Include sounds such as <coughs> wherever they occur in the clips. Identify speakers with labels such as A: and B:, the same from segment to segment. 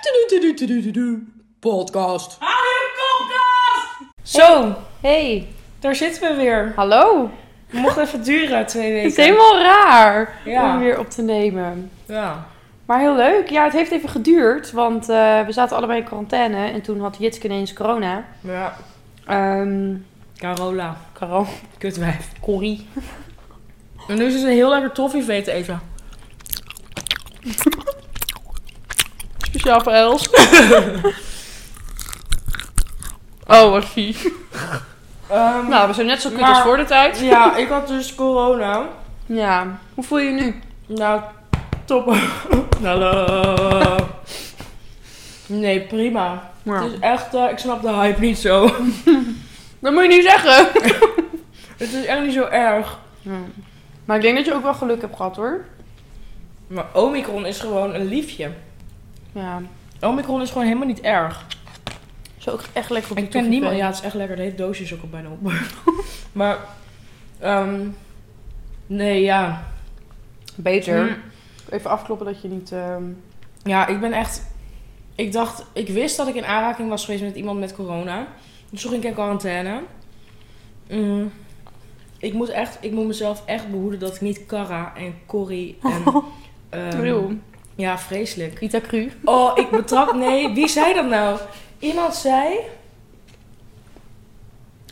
A: Tudu-tudu-tudu-tudu. Podcast.
B: Zo,
C: Hey,
B: daar zitten we weer.
C: hallo.
B: Het mocht even duren, twee
C: Het is
B: weken.
C: helemaal raar
B: Ja.
C: om weer op te nemen.
B: Ja.
C: Maar heel leuk. Ja, het heeft even geduurd, want eh, we zaten allebei in quarantaine en toen had Jitske ineens corona.
B: ja.
C: Ehm
B: Carola,
C: Carol,
B: kutwijf.
C: Corrie.
B: En nu is ze een heel lekker toffee weten eten.
C: Speciaal voor <laughs> Els. oh, wat vies.
B: Ehm,
C: Nou, we zijn net zo kut
B: Maar-
C: als voor de tijd.
B: Ja, ik had dus corona.
C: Ja. Hoe voel je je nu?
B: Nou, top. <laughs> Hallo. Nee, prima. Het
C: Dus-
B: is echt, eh, ik snap de hype niet zo. <laughs>
C: Dat moet je niet zeggen.
B: Het is echt niet zo erg.
C: Maar ik denk dat je ook wel geluk hebt gehad hoor.
B: Maar Omicron is gewoon een liefje.
C: Ja.
B: Omicron is gewoon helemaal niet erg.
C: Zo ook echt lekker op
B: Ik ken niemand. Ja, het is echt lekker. De hele doosje is ook al bijna op. <laughs> maar, ehm, nee, ja.
C: Beter.
B: Mm.
C: Even afkloppen dat je niet... ehm,
B: Ja, ik ben echt. Ik dacht, ik wist dat ik in aanraking was geweest met iemand met corona. Dus toen ging ik in quarantaine. Mm. Ik moet echt, ik moet mezelf echt behoeden dat ik niet Cara en Corrie
C: <laughs>
B: en. ehm,
C: True.
B: ja, vreselijk.
C: Rita Cru.
B: Oh, ik betrap. Nee, wie zei dat nou? Iemand zei.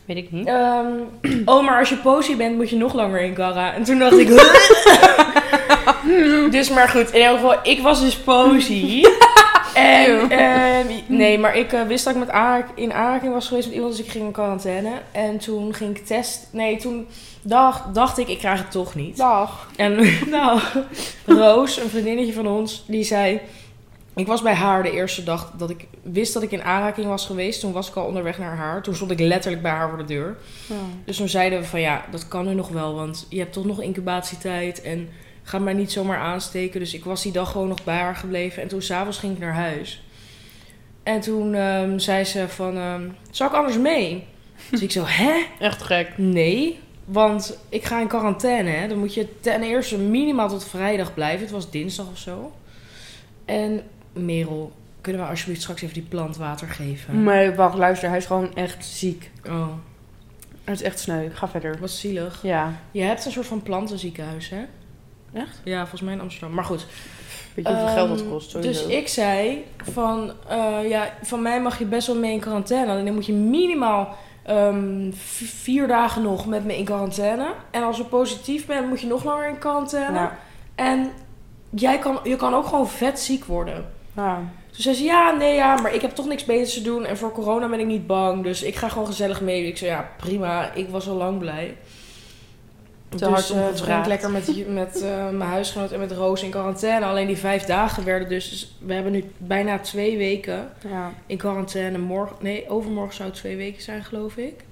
C: Weet ik niet.
B: ehm, <clears throat> oh, maar als je posie bent, moet je nog langer in Cara. En toen dacht ik. dus maar goed, in elk geval, ik was dus posie. en, ehm, nee, maar ik eh, wist dat ik met aanrak- in aanraking was geweest met iemand, dus ik ging in quarantaine. En toen ging ik test. Nee, toen dacht, dacht ik, ik krijg het toch niet.
C: Dag.
B: En <laughs> nou, Roos, een vriendinnetje van ons, die zei... Ik was bij haar de eerste dag dat ik wist dat ik in aanraking was geweest. Toen was ik al onderweg naar haar. Toen stond ik letterlijk bij haar voor de deur. Dus toen zeiden we van ja, dat kan nu nog wel. Want je hebt toch nog incubatietijd. En ga mij niet zomaar aansteken. Dus ik was die dag gewoon nog bij haar gebleven. En toen s'avonds ging ik naar huis. En toen ehm, zei ze van, ehm zou ik anders mee? Dus ik zo, hè?
C: Echt gek.
B: Nee, want ik ga in quarantaine. Hè? Dan moet je ten eerste minimaal tot vrijdag blijven. Het was dinsdag of zo. En Merel, kunnen we alsjeblieft straks even die plant water geven?
C: Maar wacht, luister. Hij is gewoon echt ziek.
B: Oh,
C: Hij is echt sneu. Ga verder.
B: wat zielig.
C: Ja.
B: Je hebt een soort van plantenziekenhuis, hè?
C: Echt?
B: Ja, volgens mij in Amsterdam. Maar goed.
C: Weet je hoeveel geld dat
B: Ehm,
C: kost?
B: Dus ik zei van, eh, ja, van mij mag je best wel mee in quarantaine. Alleen dan moet je minimaal ehm, v- vier dagen nog met me in quarantaine. En als je positief bent, moet je nog langer in
C: eh,
B: quarantaine. En jij kan, je kan ook gewoon vet ziek worden.
C: Ja.
B: Toen zei ze, ja, nee, ja, maar ik heb toch niks beters te doen. En voor corona ben ik niet bang. Dus ik ga gewoon gezellig mee. Ik zei, ja, prima. Ik was al lang blij.
C: Te hard
B: eh,
C: omgevraagd.
B: toen ging ik lekker met, met eh, mijn huisgenoot en met Roos in quarantaine. Alleen die vijf dagen werden dus... dus we hebben nu bijna twee weken
C: Ja.
B: in quarantaine. Morgen, nee, overmorgen zou het twee weken zijn, geloof ik.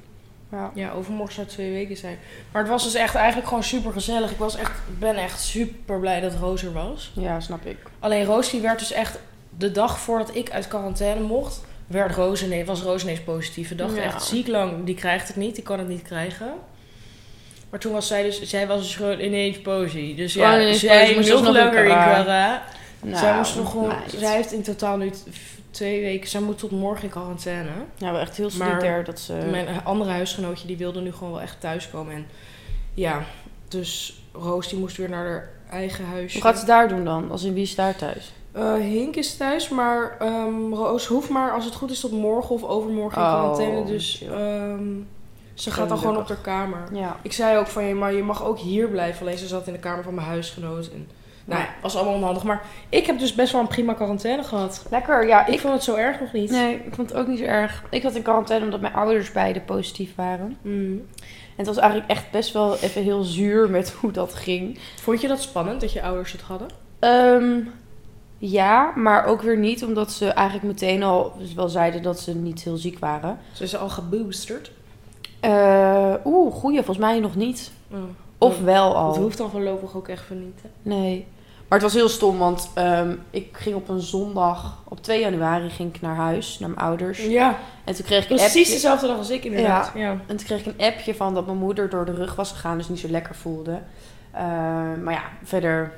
C: Ja.
B: Ja, overmorgen zou het twee weken zijn. Maar het was dus echt eigenlijk gewoon super gezellig. Ik was echt, ben echt super blij dat Roos er was.
C: Ja, snap ik.
B: Alleen Roos die werd dus echt de dag voordat ik uit quarantaine mocht, werd Roos ineens, was Roos ineens positief. We dachten
C: Ja.
B: echt ziek lang, die krijgt het niet, die kan het niet krijgen. Maar toen was zij dus, zij was dus gewoon ineens positief. Dus ja,
C: Gewoon ineens
B: zij
C: positief, moest
B: moest nog
C: dus nog in
B: langer in
C: quarantaine.
B: quarantaine.
C: Nou,
B: zij moest nog gewoon,
C: meid.
B: zij heeft in totaal nu t- f- twee weken, zij moet tot morgen in quarantaine.
C: Ja, wel echt heel
B: Maar-
C: solidair dat ze...
B: Mijn andere huisgenootje die wilde nu gewoon wel echt thuiskomen. En ja, dus Roos die moest weer naar haar eigen huisje.
C: Hoe gaat ze daar doen dan? Als in wie is daar thuis?
B: Eh, Hink is thuis, maar ehm, Roos hoeft maar als het goed is tot morgen of overmorgen in
C: Oh,
B: quarantaine. Dus
C: chill.
B: ehm, ze gaat dan
C: Gelukkig.
B: gewoon op haar kamer.
C: Ja.
B: Ik zei ook van je, maar je mag ook hier blijven. Alleen ze zat in de kamer van mijn huisgenoot. En, nou ja, was allemaal onhandig. Maar ik heb dus best wel een prima quarantaine gehad.
C: Lekker, ja.
B: Ik,
C: Ik...
B: vond het zo erg nog niet.
C: Nee, ik vond het ook niet zo erg. Ik had in quarantaine omdat mijn ouders beide positief waren.
B: Mm.
C: En het was eigenlijk echt best wel even heel zuur met hoe dat ging.
B: Vond je dat spannend dat je ouders het hadden?
C: Ehm, ja, maar ook weer niet, omdat ze eigenlijk meteen al dus wel zeiden dat ze niet heel ziek waren.
B: Ze is al geboosterd.
C: Eh, Oeh, goeie, volgens mij nog niet.
B: Oh.
C: Of wel
B: Dat
C: al.
B: hoeft dan voorlopig ook echt van niet. hè?
C: Nee. Maar het was heel stom, want ehm, ik ging op een zondag, op 2 januari, ging ik naar huis, naar mijn ouders.
B: Ja,
C: En toen kreeg ik een
B: precies
C: appje,
B: dezelfde dag als ik inderdaad. ja.
C: en toen kreeg ik een appje van dat mijn moeder door de rug was gegaan, dus niet zo lekker voelde. Eh, maar ja, verder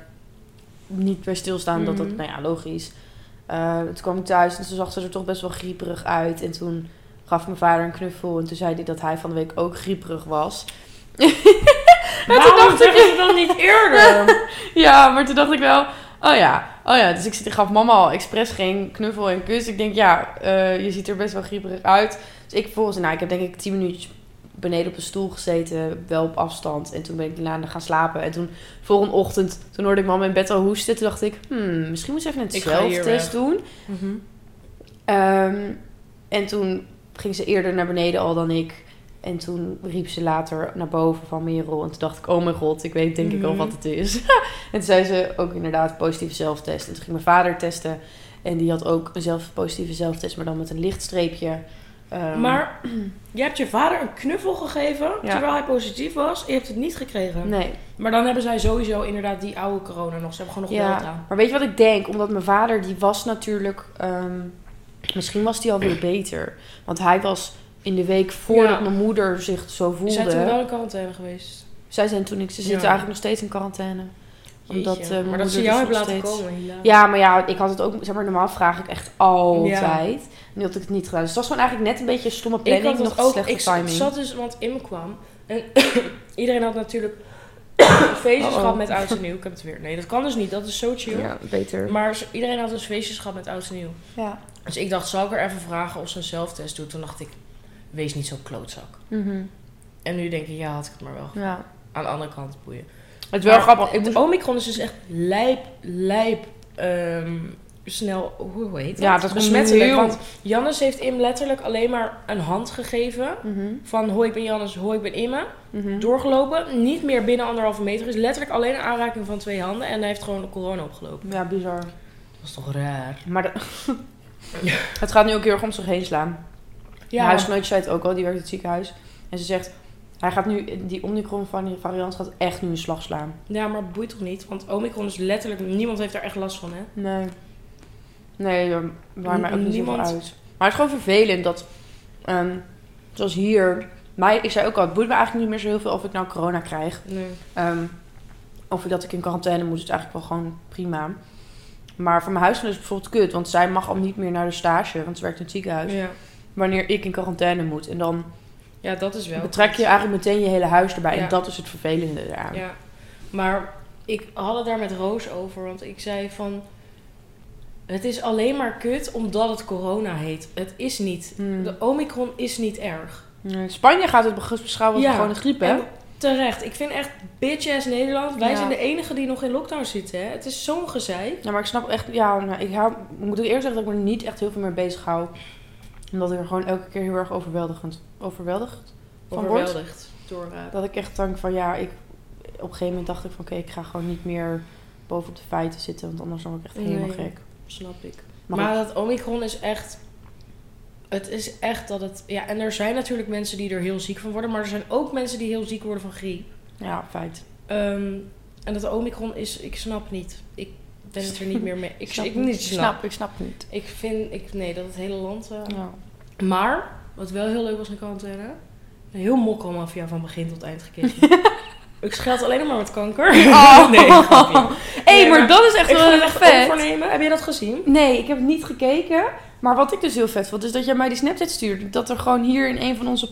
C: niet bij stilstaan dat dat,
B: Mhm.
C: nou ja, logisch. Eh, toen kwam ik thuis en toen zag ze er toch best wel grieperig uit. En toen gaf mijn vader een knuffel. En toen zei hij dat hij van de week ook grieperig was.
B: Waarom
C: dacht ik-
B: zeggen ze dan niet <laughs> eerder?
C: <laughs> Ja, maar toen dacht ik wel, oh ja, oh ja. Dus ik, zit- ik gaf mama al expres geen knuffel en kus. Ik denk, ja, eh, je ziet er best wel grieperig uit. Dus ik volgens, nou, ik heb denk ik tien minuutjes beneden op een stoel gezeten, wel op afstand. En toen ben ik daarna gaan slapen. En toen, volgende ochtend, toen hoorde ik mama in bed al hoesten. Toen dacht ik, hmm, misschien moet ze even
B: Ik
C: een
B: ga hier
C: zelftest doen.
B: Mhm.
C: Ehm, en toen ging ze eerder naar beneden al dan ik. En toen riep ze later naar boven van Merel. En toen dacht ik, oh mijn god, ik weet denk ik al
B: Mhm.
C: wat het is. <laughs> en toen zei ze ook inderdaad positieve zelftest. En toen ging mijn vader testen. En die had ook een zelf, positieve zelftest, maar dan met een lichtstreepje. Ehm,
B: Maar <clears throat> je hebt je vader een knuffel gegeven
C: Ja.
B: terwijl hij positief was. Je hebt het niet gekregen.
C: Nee,
B: Maar dan hebben zij sowieso inderdaad die oude corona nog. Ze hebben gewoon nog
C: ja.
B: Delta.
C: Maar weet je wat ik denk? Omdat mijn vader, die was natuurlijk... ehm, misschien was die alweer beter. Want hij was in de week voordat
B: Ja.
C: mijn moeder zich zo voelde...
B: Ze zijn toen wel in quarantaine geweest.
C: Zij zijn toen ik. Ze
B: Ja.
C: zitten eigenlijk nog steeds in quarantaine. Omdat,
B: Jeetje.
C: eh, mijn
B: maar dat ze
C: moeder
B: jou
C: dus
B: hebben
C: nog
B: laten
C: steeds-
B: komen. helaas.
C: Ja, maar ja, ik had het ook. Zeg maar, normaal vraag ik echt altijd. Nu had ik het niet gedaan. Dus het was gewoon eigenlijk net een beetje een stomme
B: ik
C: planning.
B: had
C: nog
B: dat ook.
C: slechte
B: Ik
C: timing.
B: zat dus, want in me kwam. En <clears throat> iedereen had
C: <coughs>
B: natuurlijk feestjes
C: Uh-oh.
B: gehad met oud en nieuw. Ik heb het weer. Nee, dat kan dus niet. Dat is zo chill.
C: ja, beter.
B: Maar ze- iedereen had dus feestjes gehad met oud en nieuw.
C: ja.
B: Dus ik dacht, zal ik er even vragen of ze een zelftest doet? Toen dacht ik, wees niet zo'n klootzak.
C: Mhm.
B: En nu denk ik, ja, had ik het maar wel.
C: ja.
B: Aan de andere kant, boeien.
C: Het is wel
B: Maar
C: grappig. Ik
B: de
C: moest...
B: Omicron is dus echt lijp, lijp, ehm, snel, hoe hoe heet dat?
C: Ja, dat komt
B: Besmettelijk,
C: heel-
B: Want Jannes heeft Im letterlijk alleen maar een hand gegeven.
C: Mhm,
B: Van hoi, ik ben Jannes, hoi, ik ben Imme.
C: mhm.
B: Doorgelopen, niet meer binnen anderhalve meter. Is letterlijk alleen een aanraking van twee handen. En hij heeft gewoon de corona opgelopen.
C: Ja, bizar.
B: Dat is toch raar?
C: Maar de- het gaat nu ook heel erg om zich heen slaan. Ja. Mijn huisgenootje zei het ook al. Die werkt in het ziekenhuis. En ze zegt... Hij gaat nu... Die Omicron vari- variant gaat echt nu een slag slaan.
B: ja, maar boeit toch niet? Want Omicron is letterlijk, niemand heeft daar echt last van, hè?
C: Nee. Nee, daar waren mij ook niet zoveel
B: Niemand-
C: uit. Maar het is gewoon vervelend dat... ehm, zoals hier... Mij, ik zei ook al, het boeit me eigenlijk niet meer zo heel veel of ik nou corona krijg.
B: Nee.
C: Ehm, of dat ik in quarantaine moet, is het eigenlijk wel gewoon prima. Maar voor mijn huisgenoot is het bijvoorbeeld kut. Want zij mag al niet meer naar de stage, want ze werkt in het ziekenhuis.
B: Ja.
C: Wanneer ik in quarantaine moet. En dan
B: ja, dat is wel.
C: betrek je eigenlijk meteen je hele huis erbij.
B: Ja.
C: En dat is het vervelende eraan.
B: Ja, maar ik had het daar met Roos over, want ik zei van... Het is alleen maar kut omdat het corona heet. Het is niet.
C: Hmm.
B: De omicron is niet erg.
C: In Spanje gaat het beschouwen als
B: Ja.
C: gewoon een griep, hè?
B: En terecht. Ik vind echt bitch-ass Nederland. Wij
C: Ja.
B: zijn de enigen die nog in lockdown zitten. Hè? Het is zo'n gezeik.
C: Ja, maar ik snap echt... Ja, nou, ik hou, moet ik eerst zeggen dat ik me niet echt heel veel mee bezig hou. Omdat ik er gewoon elke keer heel erg overweldigend... Overweldigd? Van word?
B: Overweldigd door... eh,
C: Dat ik echt denk van ja, ik... Op een gegeven moment dacht ik van oké, ik ga gewoon niet meer bovenop de feiten zitten. Want anders word ik echt helemaal
B: Nee.
C: gek.
B: snap ik.
C: Maar,
B: Maar dat omicron is echt... Het is echt dat het... Ja, en er zijn natuurlijk mensen die er heel ziek van worden. Maar er zijn ook mensen die heel ziek worden van griep.
C: ja, feit.
B: Ehm, en dat Omicron is, ik snap niet. Ik ben het er niet meer mee. Ik, ik, niet
C: Ik
B: snap.
C: <laughs> snap, ik snap niet.
B: Ik vind, ik, nee, dat het hele land. eh,
C: Ja.
B: Maar, wat wel heel leuk was in quarantaine. Een heel mokkelmafia van begin tot eind gekeken.
C: <laughs>
B: ik scheld alleen maar met kanker.
C: Oh.
B: <laughs> nee, grapje.
C: Hé,
B: Nee,
C: maar,
B: maar
C: dat is <laughs> echt
B: Ik
C: wel
B: ga het
C: heel
B: echt
C: vet.
B: overnemen. Heb je dat gezien?
C: Nee, ik heb het niet gekeken. Maar wat ik dus heel vet vond, is dat jij mij die Snapchat stuurde. Dat er gewoon hier in een van onze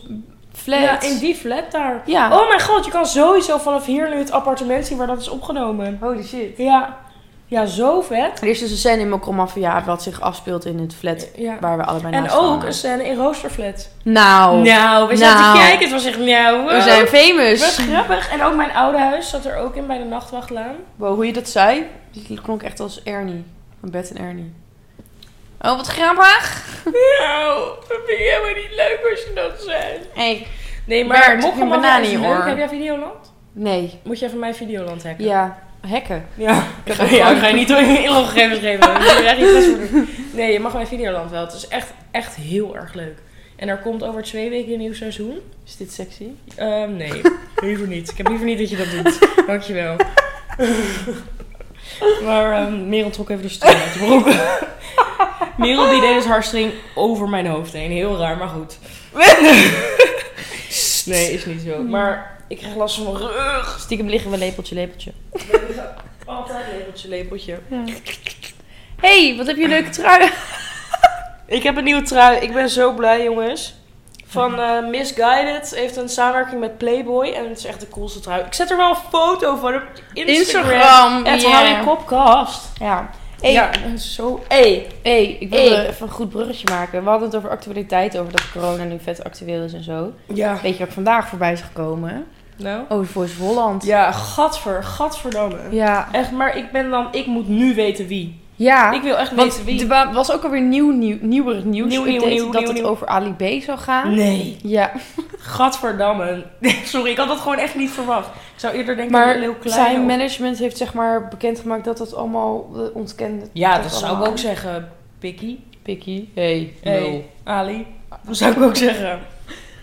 C: flats...
B: Ja, in die flat daar.
C: Ja.
B: Oh mijn god, je kan sowieso vanaf hier nu het appartement zien waar dat is opgenomen.
C: Holy shit.
B: Ja, ja zo vet.
C: Er is dus een scène in Mokromafia wat zich afspeelt in het flat
B: Ja.
C: waar we allebei
B: En
C: naast
B: ook
C: wonen.
B: een scène in Roosterflat.
C: Nou,
B: Nou, we zaten
C: Nou.
B: te kijken. Het was echt, nou, wow.
C: we zijn
B: Wat
C: famous.
B: grappig. En ook mijn oude huis zat er ook in bij de
C: <laughs>
B: nachtwachtlaan.
C: Wow, hoe je dat zei, die klonk echt als Ernie. Van Beth en Ernie. Oh, wat grappig.
B: Nou, dat vind ik helemaal niet leuk als je dat zegt.
C: Hey.
B: Nee,
C: Bert,
B: maar
C: ik
B: mokken
C: heb een banaan in je oor.
B: Heb jij Videoland?
C: Nee,
B: Moet je even mijn Videoland hacken?
C: ja, hekken.
B: Ja,
C: Ik
B: <laughs> ik
C: ga-
B: ga,
C: ja,
B: ik ga je niet door je inloggegevens
C: <laughs>
B: geven. Ik wil er echt niet best voor doen. Nee, je mag mijn Videoland wel. Het is echt, echt heel erg leuk. En er komt over twee weken een nieuw seizoen.
C: Is dit sexy?
B: Ehm, <laughs> nee, liever niet. Ik heb liever niet dat je dat doet. <laughs> Dankjewel. maar ehm, Merel trok even de string uit de <laughs> broek. Merel die deed dus haar string over mijn hoofd heen. Heel raar, maar goed. nee, is niet zo. Maar ik krijg last van mijn rug.
C: Stiekem liggen we lepeltje, lepeltje.
B: Altijd lepeltje, lepeltje.
C: Ja. hey, wat heb je een leuke trui.
B: Ik heb een nieuwe trui. Ik ben zo blij, jongens. Van eh, Misguided heeft een samenwerking met Playboy. En het is echt de coolste trui. Ik zet er wel een foto van op Instagram.
C: <laughs> Instagram,
B: Het
C: ja.
B: Harry Kopkast.
C: Ja.
B: Hey,
C: Ja.
B: zo... Hey.
C: hey, ik wilde
B: Hey.
C: even een goed bruggetje maken. We hadden het over actualiteit, over dat corona nu vet actueel is en zo.
A: Ja.
C: Weet je wat vandaag voorbij is gekomen?
B: Nou?
C: Over Voice Holland.
A: Ja.
B: Gadver, gadverdamme.
C: Ja.
B: Echt, maar ik ben dan... Ik moet nu weten wie.
C: Ja.
B: Ik wil echt weten
C: Want
B: wie.
C: er wa- was ook alweer nieuw, nieuw, nieuwer nieuws
B: Nieuw, nieuw,
C: update
B: nieuw,
C: dat
B: nieuw,
C: het
B: nieuw.
C: over Ali B zou gaan.
B: Nee.
C: Ja,
B: Gadverdamme. <laughs> Sorry, ik had dat gewoon echt niet verwacht. Ik zou eerder denken
C: maar
B: aan heel klein.
C: zijn management heeft zeg maar bekendgemaakt dat dat allemaal eh, ontkende.
B: Ja, dat
C: was
B: zou ik ook zeggen. Pikkie.
C: Pikkie. Hey.
B: Hey, Ali. Dat zou ik ook zeggen.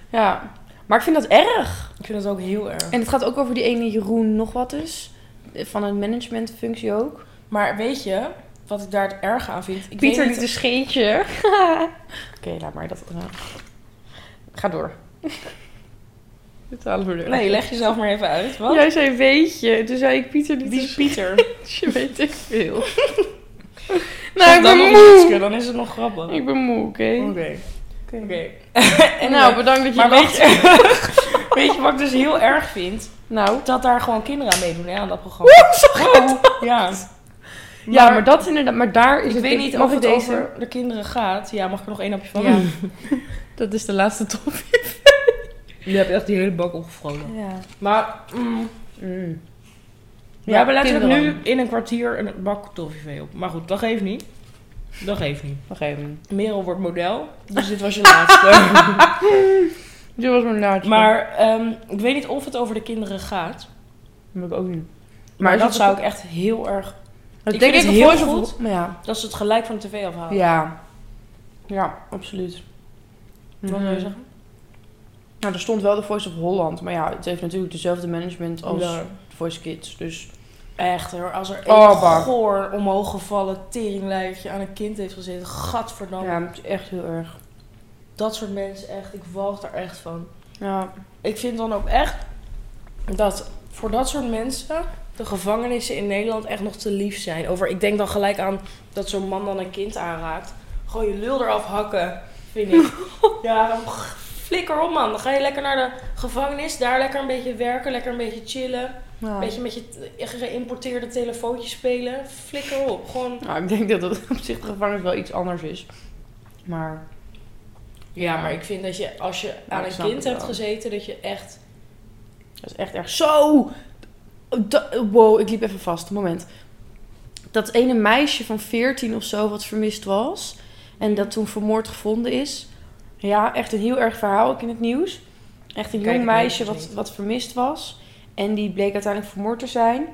C: Ja, maar ik vind dat erg.
B: Ik vind dat ook heel erg.
C: En het gaat ook over die ene Jeroen nog wat dus. Van een managementfunctie ook.
B: Maar weet je wat ik daar het erg aan vind? Ik
C: Pieter
B: weet
C: liet
B: niet-
C: een scheetje.
B: <laughs>
C: Oké, laat maar dat. eh, Ga door. Dit halen we
B: Nee, leg jezelf maar even uit. Wat?
C: Jij zei weetje. Toen zei ik Pieter liet
B: Die
C: een
B: is Pieter.
C: Je weet ik
B: <laughs>
C: veel. <laughs> nou,
B: Zeg dan
C: ik ben
B: nog
C: moe.
B: ietske, dan is het nog grappig.
C: Ik ben moe, oké.
B: Oké. Oké. En
C: Nou,
B: Nou,
C: bedankt dat je
B: maar weet
C: lacht.
B: je, weet je wat ik dus heel erg vind?
C: Nou.
B: Dat daar gewoon kinderen aan meedoen hè, aan dat programma. Wow,
C: <laughs>
B: Ja.
C: <laughs> ja, maar dat inderdaad. Maar daar is
B: ik
C: het...
B: weet niet
C: mag
B: of
C: Dus ik
B: het
C: deze...
B: over de kinderen gaat. Ja, mag ik er nog één hapje van?
C: Ja. dat is de laatste top.
A: Je hebt echt die hele bak opgevroren.
C: Ja.
B: Maar mm,
C: Mm.
B: we hebben
C: kinderen.
B: letterlijk nu in een kwartier een bak toffee op. Maar goed, dat geeft niet. Dat geeft niet.
C: Wacht even.
B: Merel wordt model, dus dit
C: <laughs>
B: was je laatste.
C: Dit was mijn laatste.
B: maar ehm, ik weet niet of het over de kinderen gaat.
C: Dat heb ik ook niet. Maar,
B: Maar,
C: is
B: dat
C: het-
B: zou ik echt heel erg...
C: Dat
B: ik
C: denk
B: vind
C: ik
B: het
C: heel
B: heel
C: goed.
B: goed.
C: Maar ja.
B: Dat ze het gelijk van de tv afhalen.
C: Ja. Ja, absoluut. Mm.
B: Wat wil je zeggen?
C: Nou, er stond wel de Voice of Holland. Maar ja, het heeft natuurlijk dezelfde management als
B: Ja.
C: Voice Kids. Dus
B: Echt hoor, als er één
C: Oh, bak.
B: goor omhoog gevallen teringlijfje aan een kind heeft gezeten. Gadverdamme.
C: ja, het is echt heel erg.
B: Dat soort mensen echt, ik walg daar echt van.
C: Ja.
B: Ik vind dan ook echt dat voor dat soort mensen de gevangenissen in Nederland echt nog te lief zijn. Over, ik denk dan gelijk aan dat zo'n man dan een kind aanraakt. Gewoon je lul eraf hakken, vind
C: <laughs>
B: ik. ja, dan g- flikker op man. Dan ga je lekker naar de gevangenis, daar lekker een beetje werken, lekker een beetje chillen.
C: ja.
B: Een beetje met je t- geïmporteerde telefoontje spelen. Flikker op, gewoon...
C: Nou, ik denk dat het op zich de gevangenis wel iets anders is. Maar
B: Ja, maar ik vind dat je als je aan
C: ik
B: een
C: snap
B: kind
C: het
B: hebt
C: wel.
B: gezeten, dat je echt...
C: dat is echt erg zo. Dat- wow, ik liep even vast. Moment. Dat ene meisje van 14 of zo wat vermist was. En dat toen vermoord gevonden is. Ja, echt een heel erg verhaal ook in het nieuws. Echt een
B: Kijk,
C: jong
B: ik weet
C: meisje
B: het
C: wat,
B: niet.
C: wat vermist was. En die bleek uiteindelijk vermoord te zijn.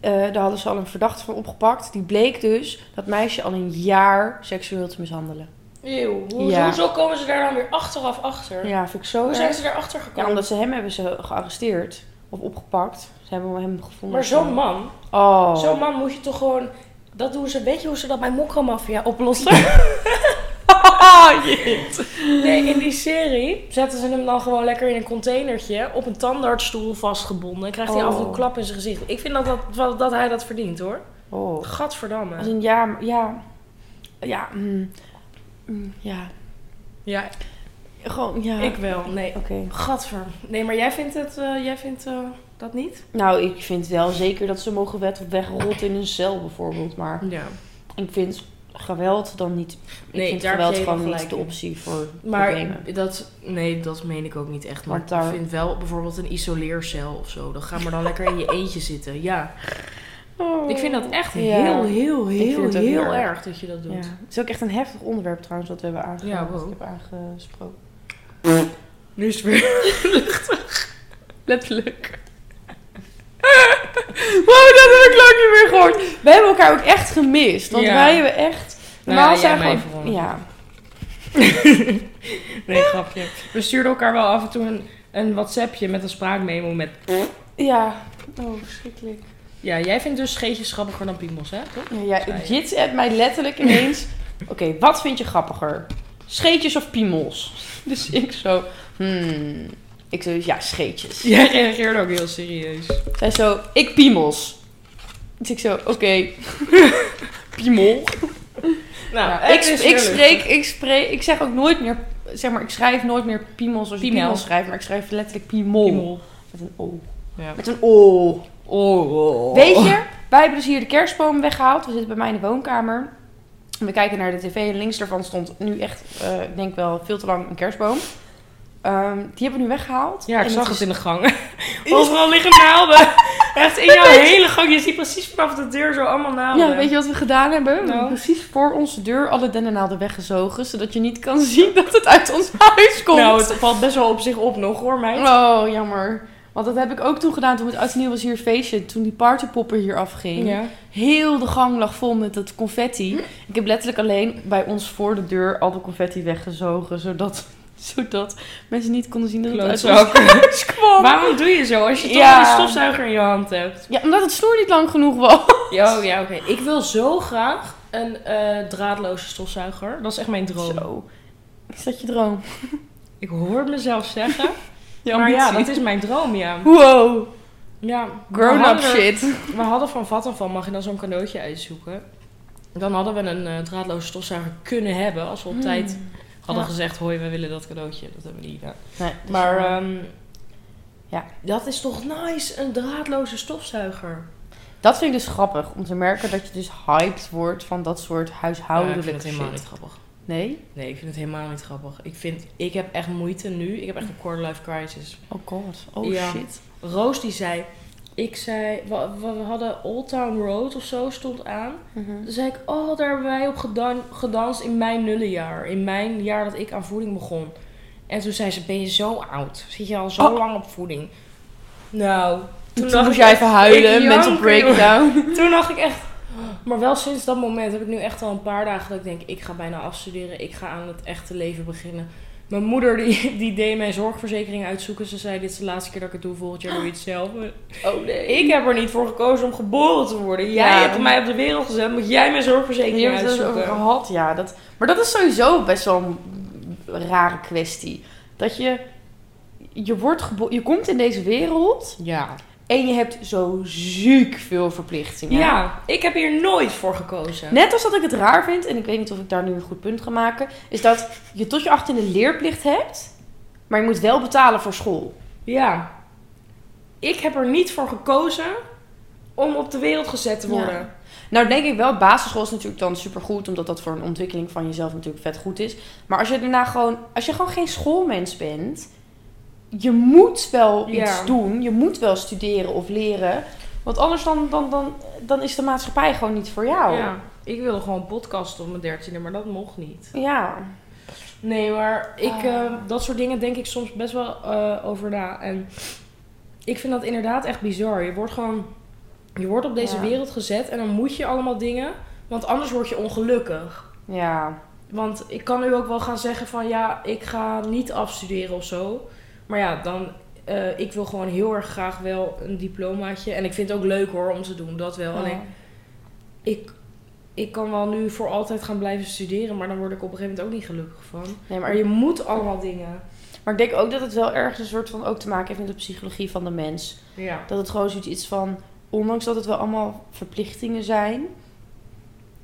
C: Eh, daar hadden ze al een verdachte van opgepakt. Die bleek dus dat meisje al een jaar seksueel te mishandelen.
B: Eeuw, hoe,
C: Ja.
B: hoezo komen ze daar dan weer achteraf achter?
C: Ja, vind ik zo
B: Hoe
C: erg.
B: zijn ze daarachter gekomen?
C: Ja, omdat ze hem hebben ze gearresteerd of opgepakt. Ze hebben hem gevonden.
B: Maar zo'n man,
C: Oh. <laughs>
B: zo'n man moet je toch gewoon... Dat doen ze, weet je hoe ze dat bij Mokka-mafia oplossen? <laughs> nee, in die serie zetten ze hem dan gewoon lekker in een containertje op een tandartsstoel vastgebonden. En krijgt hij
C: Oh.
B: af en toe een klap in zijn gezicht. Ik vind dat, dat, wel- dat hij dat verdient hoor.
C: Oh. Als
B: Gadverdamme.
C: een ja, maar- ja. Ja. mm, mm, Ja.
B: Ja,
C: Gewoon, ja.
B: ik wel. Nee,
C: Oké.
B: Gadver. Nee, maar jij vindt, het, eh, jij vindt eh, dat niet?
C: Nou, ik vind wel zeker dat ze mogen wet- wegrotten in een cel bijvoorbeeld. Maar
B: Ja.
C: ik vind geweld dan niet... Ik
B: Nee,
C: vind
B: daar heb
C: geweld
B: je
C: gewoon
B: helemaal
C: niet de
B: gelijk in.
C: optie voor
A: Maar
C: problemen.
A: ik- dat, nee, dat meen ik ook niet echt. Maar
C: Want daar-
A: ik vind wel bijvoorbeeld een isoleercel of zo. Dan ga maar dan lekker in je eentje zitten. Ja, ik vind dat echt
C: Ja.
A: heel, heel,
C: Ik vind
A: heel,
C: het ook
A: heel
C: heel erg.
A: erg dat je dat
C: Ja.
A: doet.
C: Het is ook echt een heftig onderwerp trouwens wat we hebben aange-
A: Ja, wow.
C: wat ik heb aangesproken.
A: Nu is het weer...
C: Letterlijk. <laughs> wow, Oh, dat heb ik lang niet meer gehoord. We hebben elkaar ook echt gemist. Want
A: Ja.
C: wij hebben echt...
A: Nou
C: Normaal
A: ja,
C: zijn
A: jij mij
C: gewoon...
A: vooral.
C: Ja.
B: Nee, grapje. We stuurden elkaar wel af en toe een, een WhatsAppje met een spraakmemo met...
C: Ja. Oh, verschrikkelijk.
B: Ja, jij vindt dus scheetjes grappiger dan piemels, hè? Toch?
C: Ja, ja, Jit appt mij letterlijk
A: <laughs>
C: ineens... Oké, wat vind je grappiger? Scheetjes of piemels? <laughs> Dus ik zo... Hmm. Ik zo, ja, scheetjes.
B: Jij reageerde ook heel serieus.
C: Zij zo, ik piemels. Dus ik zo, oké. <laughs> piemel.
A: Nou,
C: Ja, ik,
A: het is
C: ik,
A: weer
C: spreek, ik spreek, ik zeg ook nooit meer, zeg maar, ik schrijf nooit meer piemel zoals je
B: Piemel.
C: piemel schrijft, maar ik schrijf letterlijk piemol.
B: Piemel.
C: Met een o.
B: Ja.
C: Met een o.
B: Oh, oh.
C: Weet je, wij hebben dus hier de kerstboom weggehaald. We zitten bij mij in de woonkamer. En We kijken naar de tv en links daarvan stond nu echt, eh, ik denk wel veel te lang, een kerstboom. Ehm, die hebben we nu weggehaald.
B: Ja, ik
C: En
B: zag
C: is-
B: het in de <laughs> gang. Overal liggen <laughs> naalden. Echt in jouw hele gang. Je ziet precies vanaf de deur zo allemaal naalden.
C: Ja, weet je wat we gedaan hebben? We hebben
B: Nou.
C: precies voor onze deur alle dennennaalden weggezogen, zodat je niet kan zien dat het uit ons huis komt.
B: Nou, het valt best wel op zich op nog hoor, meid.
C: Oh, jammer. Want dat heb ik ook toen gedaan toen het oud en nieuw was hier een feestje. Toen die partypopper hier afging.
B: Ja.
C: Heel de gang lag vol met dat
B: Hm?
C: confetti. Ik heb letterlijk alleen bij ons voor de deur al de confetti weggezogen. Zodat, <laughs> zodat mensen niet konden zien dat het uit ons
B: Klootzak.
C: huis <laughs> kwam.
B: Waarom doe je zo als je toch
C: Ja.
B: een stofzuiger in je hand hebt?
C: Ja, omdat het snoer niet lang genoeg was.
B: Ja, oh, ja oké. Ik wil zo graag een eh, draadloze stofzuiger. Dat is echt mijn droom.
C: Zo. Is dat je droom?
B: Ik hoor het mezelf <laughs> zeggen.
C: Ja,
B: maar ja, dat is mijn droom, ja.
C: Wow.
B: ja we
C: Grown-up
B: hadden er-
C: shit.
B: We hadden van Vattenfall, mag je dan zo'n cadeautje uitzoeken? Dan hadden we een eh, draadloze stofzuiger kunnen hebben als we op tijd hadden
C: Hmm. Ja.
B: gezegd: hoi, we willen dat cadeautje. Dat hebben we niet gedaan.
C: Nee,
B: maar
C: maar...
B: ehm,
C: ja.
B: dat is toch nice, een draadloze stofzuiger?
C: Dat vind ik dus grappig. Om te merken dat je dus hyped wordt van dat soort
B: Ja, ik
C: huishoudelijke
B: vind het helemaal
C: shit.
B: niet grappig.
C: Nee?
B: Nee, ik vind het helemaal niet grappig. Ik, vind, ik heb echt moeite nu. Ik heb echt een quarter life crisis.
C: Oh god, oh
B: Ja.
C: shit.
B: Roos die zei, ik zei, we, we hadden Old Town Road of zo stond aan.
C: Mhm.
B: Toen zei ik, oh, daar hebben wij op gedan- gedanst in mijn nullenjaar. In mijn jaar dat ik aan voeding begon. En toen zei ze, ben je zo oud? Zit je al zo
C: Oh.
B: lang op voeding? Nou,
C: Toen,
B: dacht
C: moest
B: ik
C: jij
B: echt,
C: even huilen,
B: ik
C: mental
B: jank,
C: breakdown.
B: toen dacht ik echt... Maar wel sinds dat moment heb ik nu echt al een paar dagen dat ik denk... ik ga bijna afstuderen, ik ga aan het echte leven beginnen. Mijn moeder die, die deed mijn zorgverzekering uitzoeken. Ze zei, dit is de laatste keer dat ik het doe, volgend jaar doe je het zelf.
C: Oh nee.
B: Ik heb er niet voor gekozen om geboren te worden. Jij
C: Ja.
B: hebt mij op de wereld gezet, moet jij mijn zorgverzekering
C: Hier hebben we het dus over
B: uitzoeken.
C: gehad, ja. Dat, maar dat is sowieso best wel een rare kwestie. Dat je, je, wordt gebo- je komt in deze wereld
B: Ja.
C: en je hebt zo ziek veel verplichtingen.
B: ja, ik heb hier nooit voor gekozen.
C: Net als dat ik het raar vind, en ik weet niet of ik daar nu een goed punt ga maken, is dat je tot je 18e leerplicht hebt, maar je moet wel betalen voor school.
B: Ja. Ik heb er niet voor gekozen om op de wereld gezet te
C: Ja.
B: worden.
C: Nou denk ik wel, basisschool is natuurlijk dan supergoed, omdat dat voor een ontwikkeling van jezelf natuurlijk vet goed is. Maar als je daarna gewoon, als je gewoon geen schoolmens bent, je moet wel
B: Ja.
C: iets doen, je moet wel studeren of leren. Want anders dan, dan, dan, dan is de maatschappij gewoon niet voor jou.
B: Ja, ik wilde gewoon podcasten op mijn dertiende, maar dat mocht niet.
C: Ja.
B: Nee, maar ik,
C: Ah.
B: eh, dat soort dingen denk ik soms best wel eh, over na. En ik vind dat inderdaad echt bizar. Je wordt gewoon, je wordt op deze
C: Ja.
B: wereld gezet en dan moet je allemaal dingen, want anders word je ongelukkig.
C: Ja.
B: Want ik kan nu ook wel gaan zeggen van ja, ik ga niet afstuderen of zo. Maar ja, dan, eh, ik wil gewoon heel erg graag wel een diplomaatje. En ik vind het ook leuk hoor om te doen, dat wel. Alleen ik, ik kan wel nu voor altijd gaan blijven studeren, maar dan word ik op een gegeven moment ook niet gelukkig van.
C: Nee, maar
B: Maar je moet allemaal dingen.
C: Maar ik denk ook dat het wel ergens een soort van ook te maken heeft met de psychologie van de mens.
B: Ja.
C: Dat het gewoon zoiets is van, ondanks dat het wel allemaal verplichtingen zijn,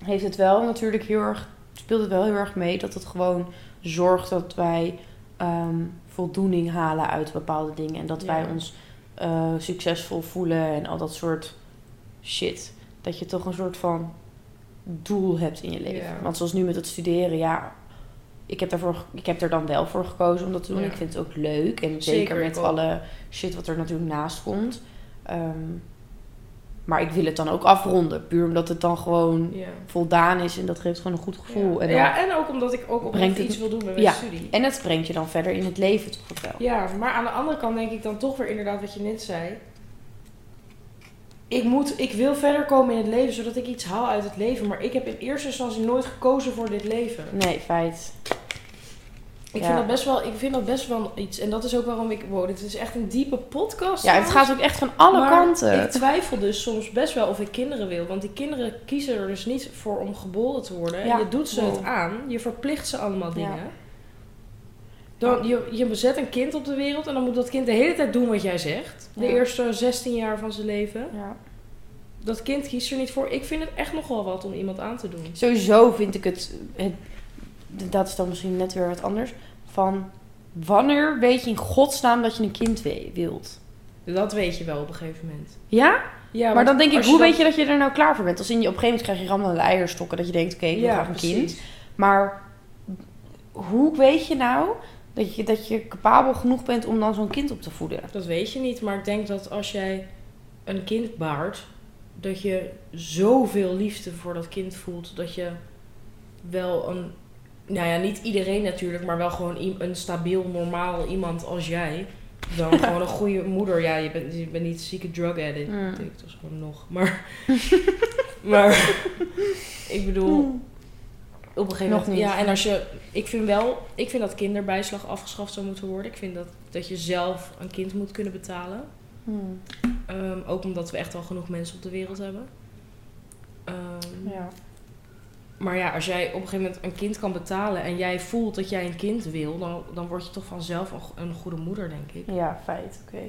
C: heeft het wel natuurlijk heel erg, speelt het wel heel erg mee dat het gewoon zorgt dat wij ehm, voldoening halen uit bepaalde dingen. En dat
B: Ja.
C: wij ons eh, succesvol voelen en al dat soort shit. Dat je toch een soort van doel hebt in je leven.
B: Ja.
C: Want zoals nu met het studeren, ja. Ik heb, daarvoor, ge- ik heb er dan wel voor gekozen om dat te doen.
B: Ja.
C: Ik vind het ook leuk. En zeker,
B: Zeker, ik
C: met
B: ook.
C: alle shit wat er natuurlijk naast komt. Ehm, maar ik wil het dan ook afronden. Puur omdat het dan gewoon
B: Ja.
C: voldaan is. En dat geeft gewoon een goed gevoel.
B: ja.
C: En, dan-
B: Ja, en ook omdat ik ook
C: brengt
B: oprecht
C: het-
B: iets wil doen met
C: Ja.
B: mijn studie.
C: en het brengt je dan verder in het leven toch ook wel.
B: Ja, maar aan de andere kant denk ik dan toch weer inderdaad wat je net zei. Ik, moet, ik wil verder komen in het leven, zodat ik iets haal uit het leven. Maar ik heb in eerste instantie nooit gekozen voor dit leven.
C: Nee, feit.
B: Ik,
C: Ja.
B: vind, dat best wel, ik vind dat best wel iets. En dat is ook waarom ik... Wow, dit is echt een diepe podcast.
C: Ja, het
B: trouwens.
C: gaat ook echt van alle
B: Maar
C: kanten.
B: Ik twijfel dus soms best wel of ik kinderen wil. Want die kinderen kiezen er dus niet voor om geboren te worden.
C: Ja.
B: En je doet ze
C: Wow.
B: het aan. Je verplicht ze allemaal dingen.
C: Ja.
B: Dan, je, je zet een kind op de wereld en dan moet dat kind de hele tijd doen wat jij zegt. De
C: Ja.
B: eerste 16 jaar van zijn leven.
C: Ja.
B: dat kind kiest er niet voor. Ik vind het echt nogal wat om iemand aan te doen.
C: Sowieso vind ik het, het- dat is dan misschien net weer wat anders, van wanneer weet je in godsnaam dat je een kind we- wilt?
B: Dat weet je wel op een gegeven moment.
C: Ja?
B: Ja,
C: maar
B: want
C: dan denk ik,
B: als
C: hoe
B: dan-
C: weet je dat je er nou klaar voor bent? Als in je op een gegeven moment krijg je rammelende eierstokken, dat je denkt, oké, ik wil graag een kind.
B: precies.
C: Maar hoe weet je nou dat je, dat je capabel genoeg bent om dan zo'n kind op te voeden?
B: Dat weet je niet, maar ik denk dat als jij een kind baart, dat je zoveel liefde voor dat kind voelt dat je wel een, nou ja, niet iedereen natuurlijk, maar wel gewoon i- een stabiel, normaal iemand als jij. Dan gewoon een goede moeder. Ja, je bent, je bent niet een zieke drug addict.
C: Mm.
B: Dat is gewoon nog. Maar, <laughs> maar ik bedoel, op een gegeven
C: Mm. Nog
B: moment.
C: niet.
B: Ja, en als je. Ik vind wel. Ik vind dat kinderbijslag afgeschaft zou moeten worden. Ik vind dat, dat je zelf een kind moet kunnen betalen.
C: Hmm.
B: Ehm, ook omdat we echt al genoeg mensen op de wereld hebben. Ehm,
C: Ja.
B: Maar ja, als jij op een gegeven moment een kind kan betalen. en jij voelt dat jij een kind wil. dan, dan word je toch vanzelf een, go- een goede moeder, denk ik.
C: ja, feit, oké.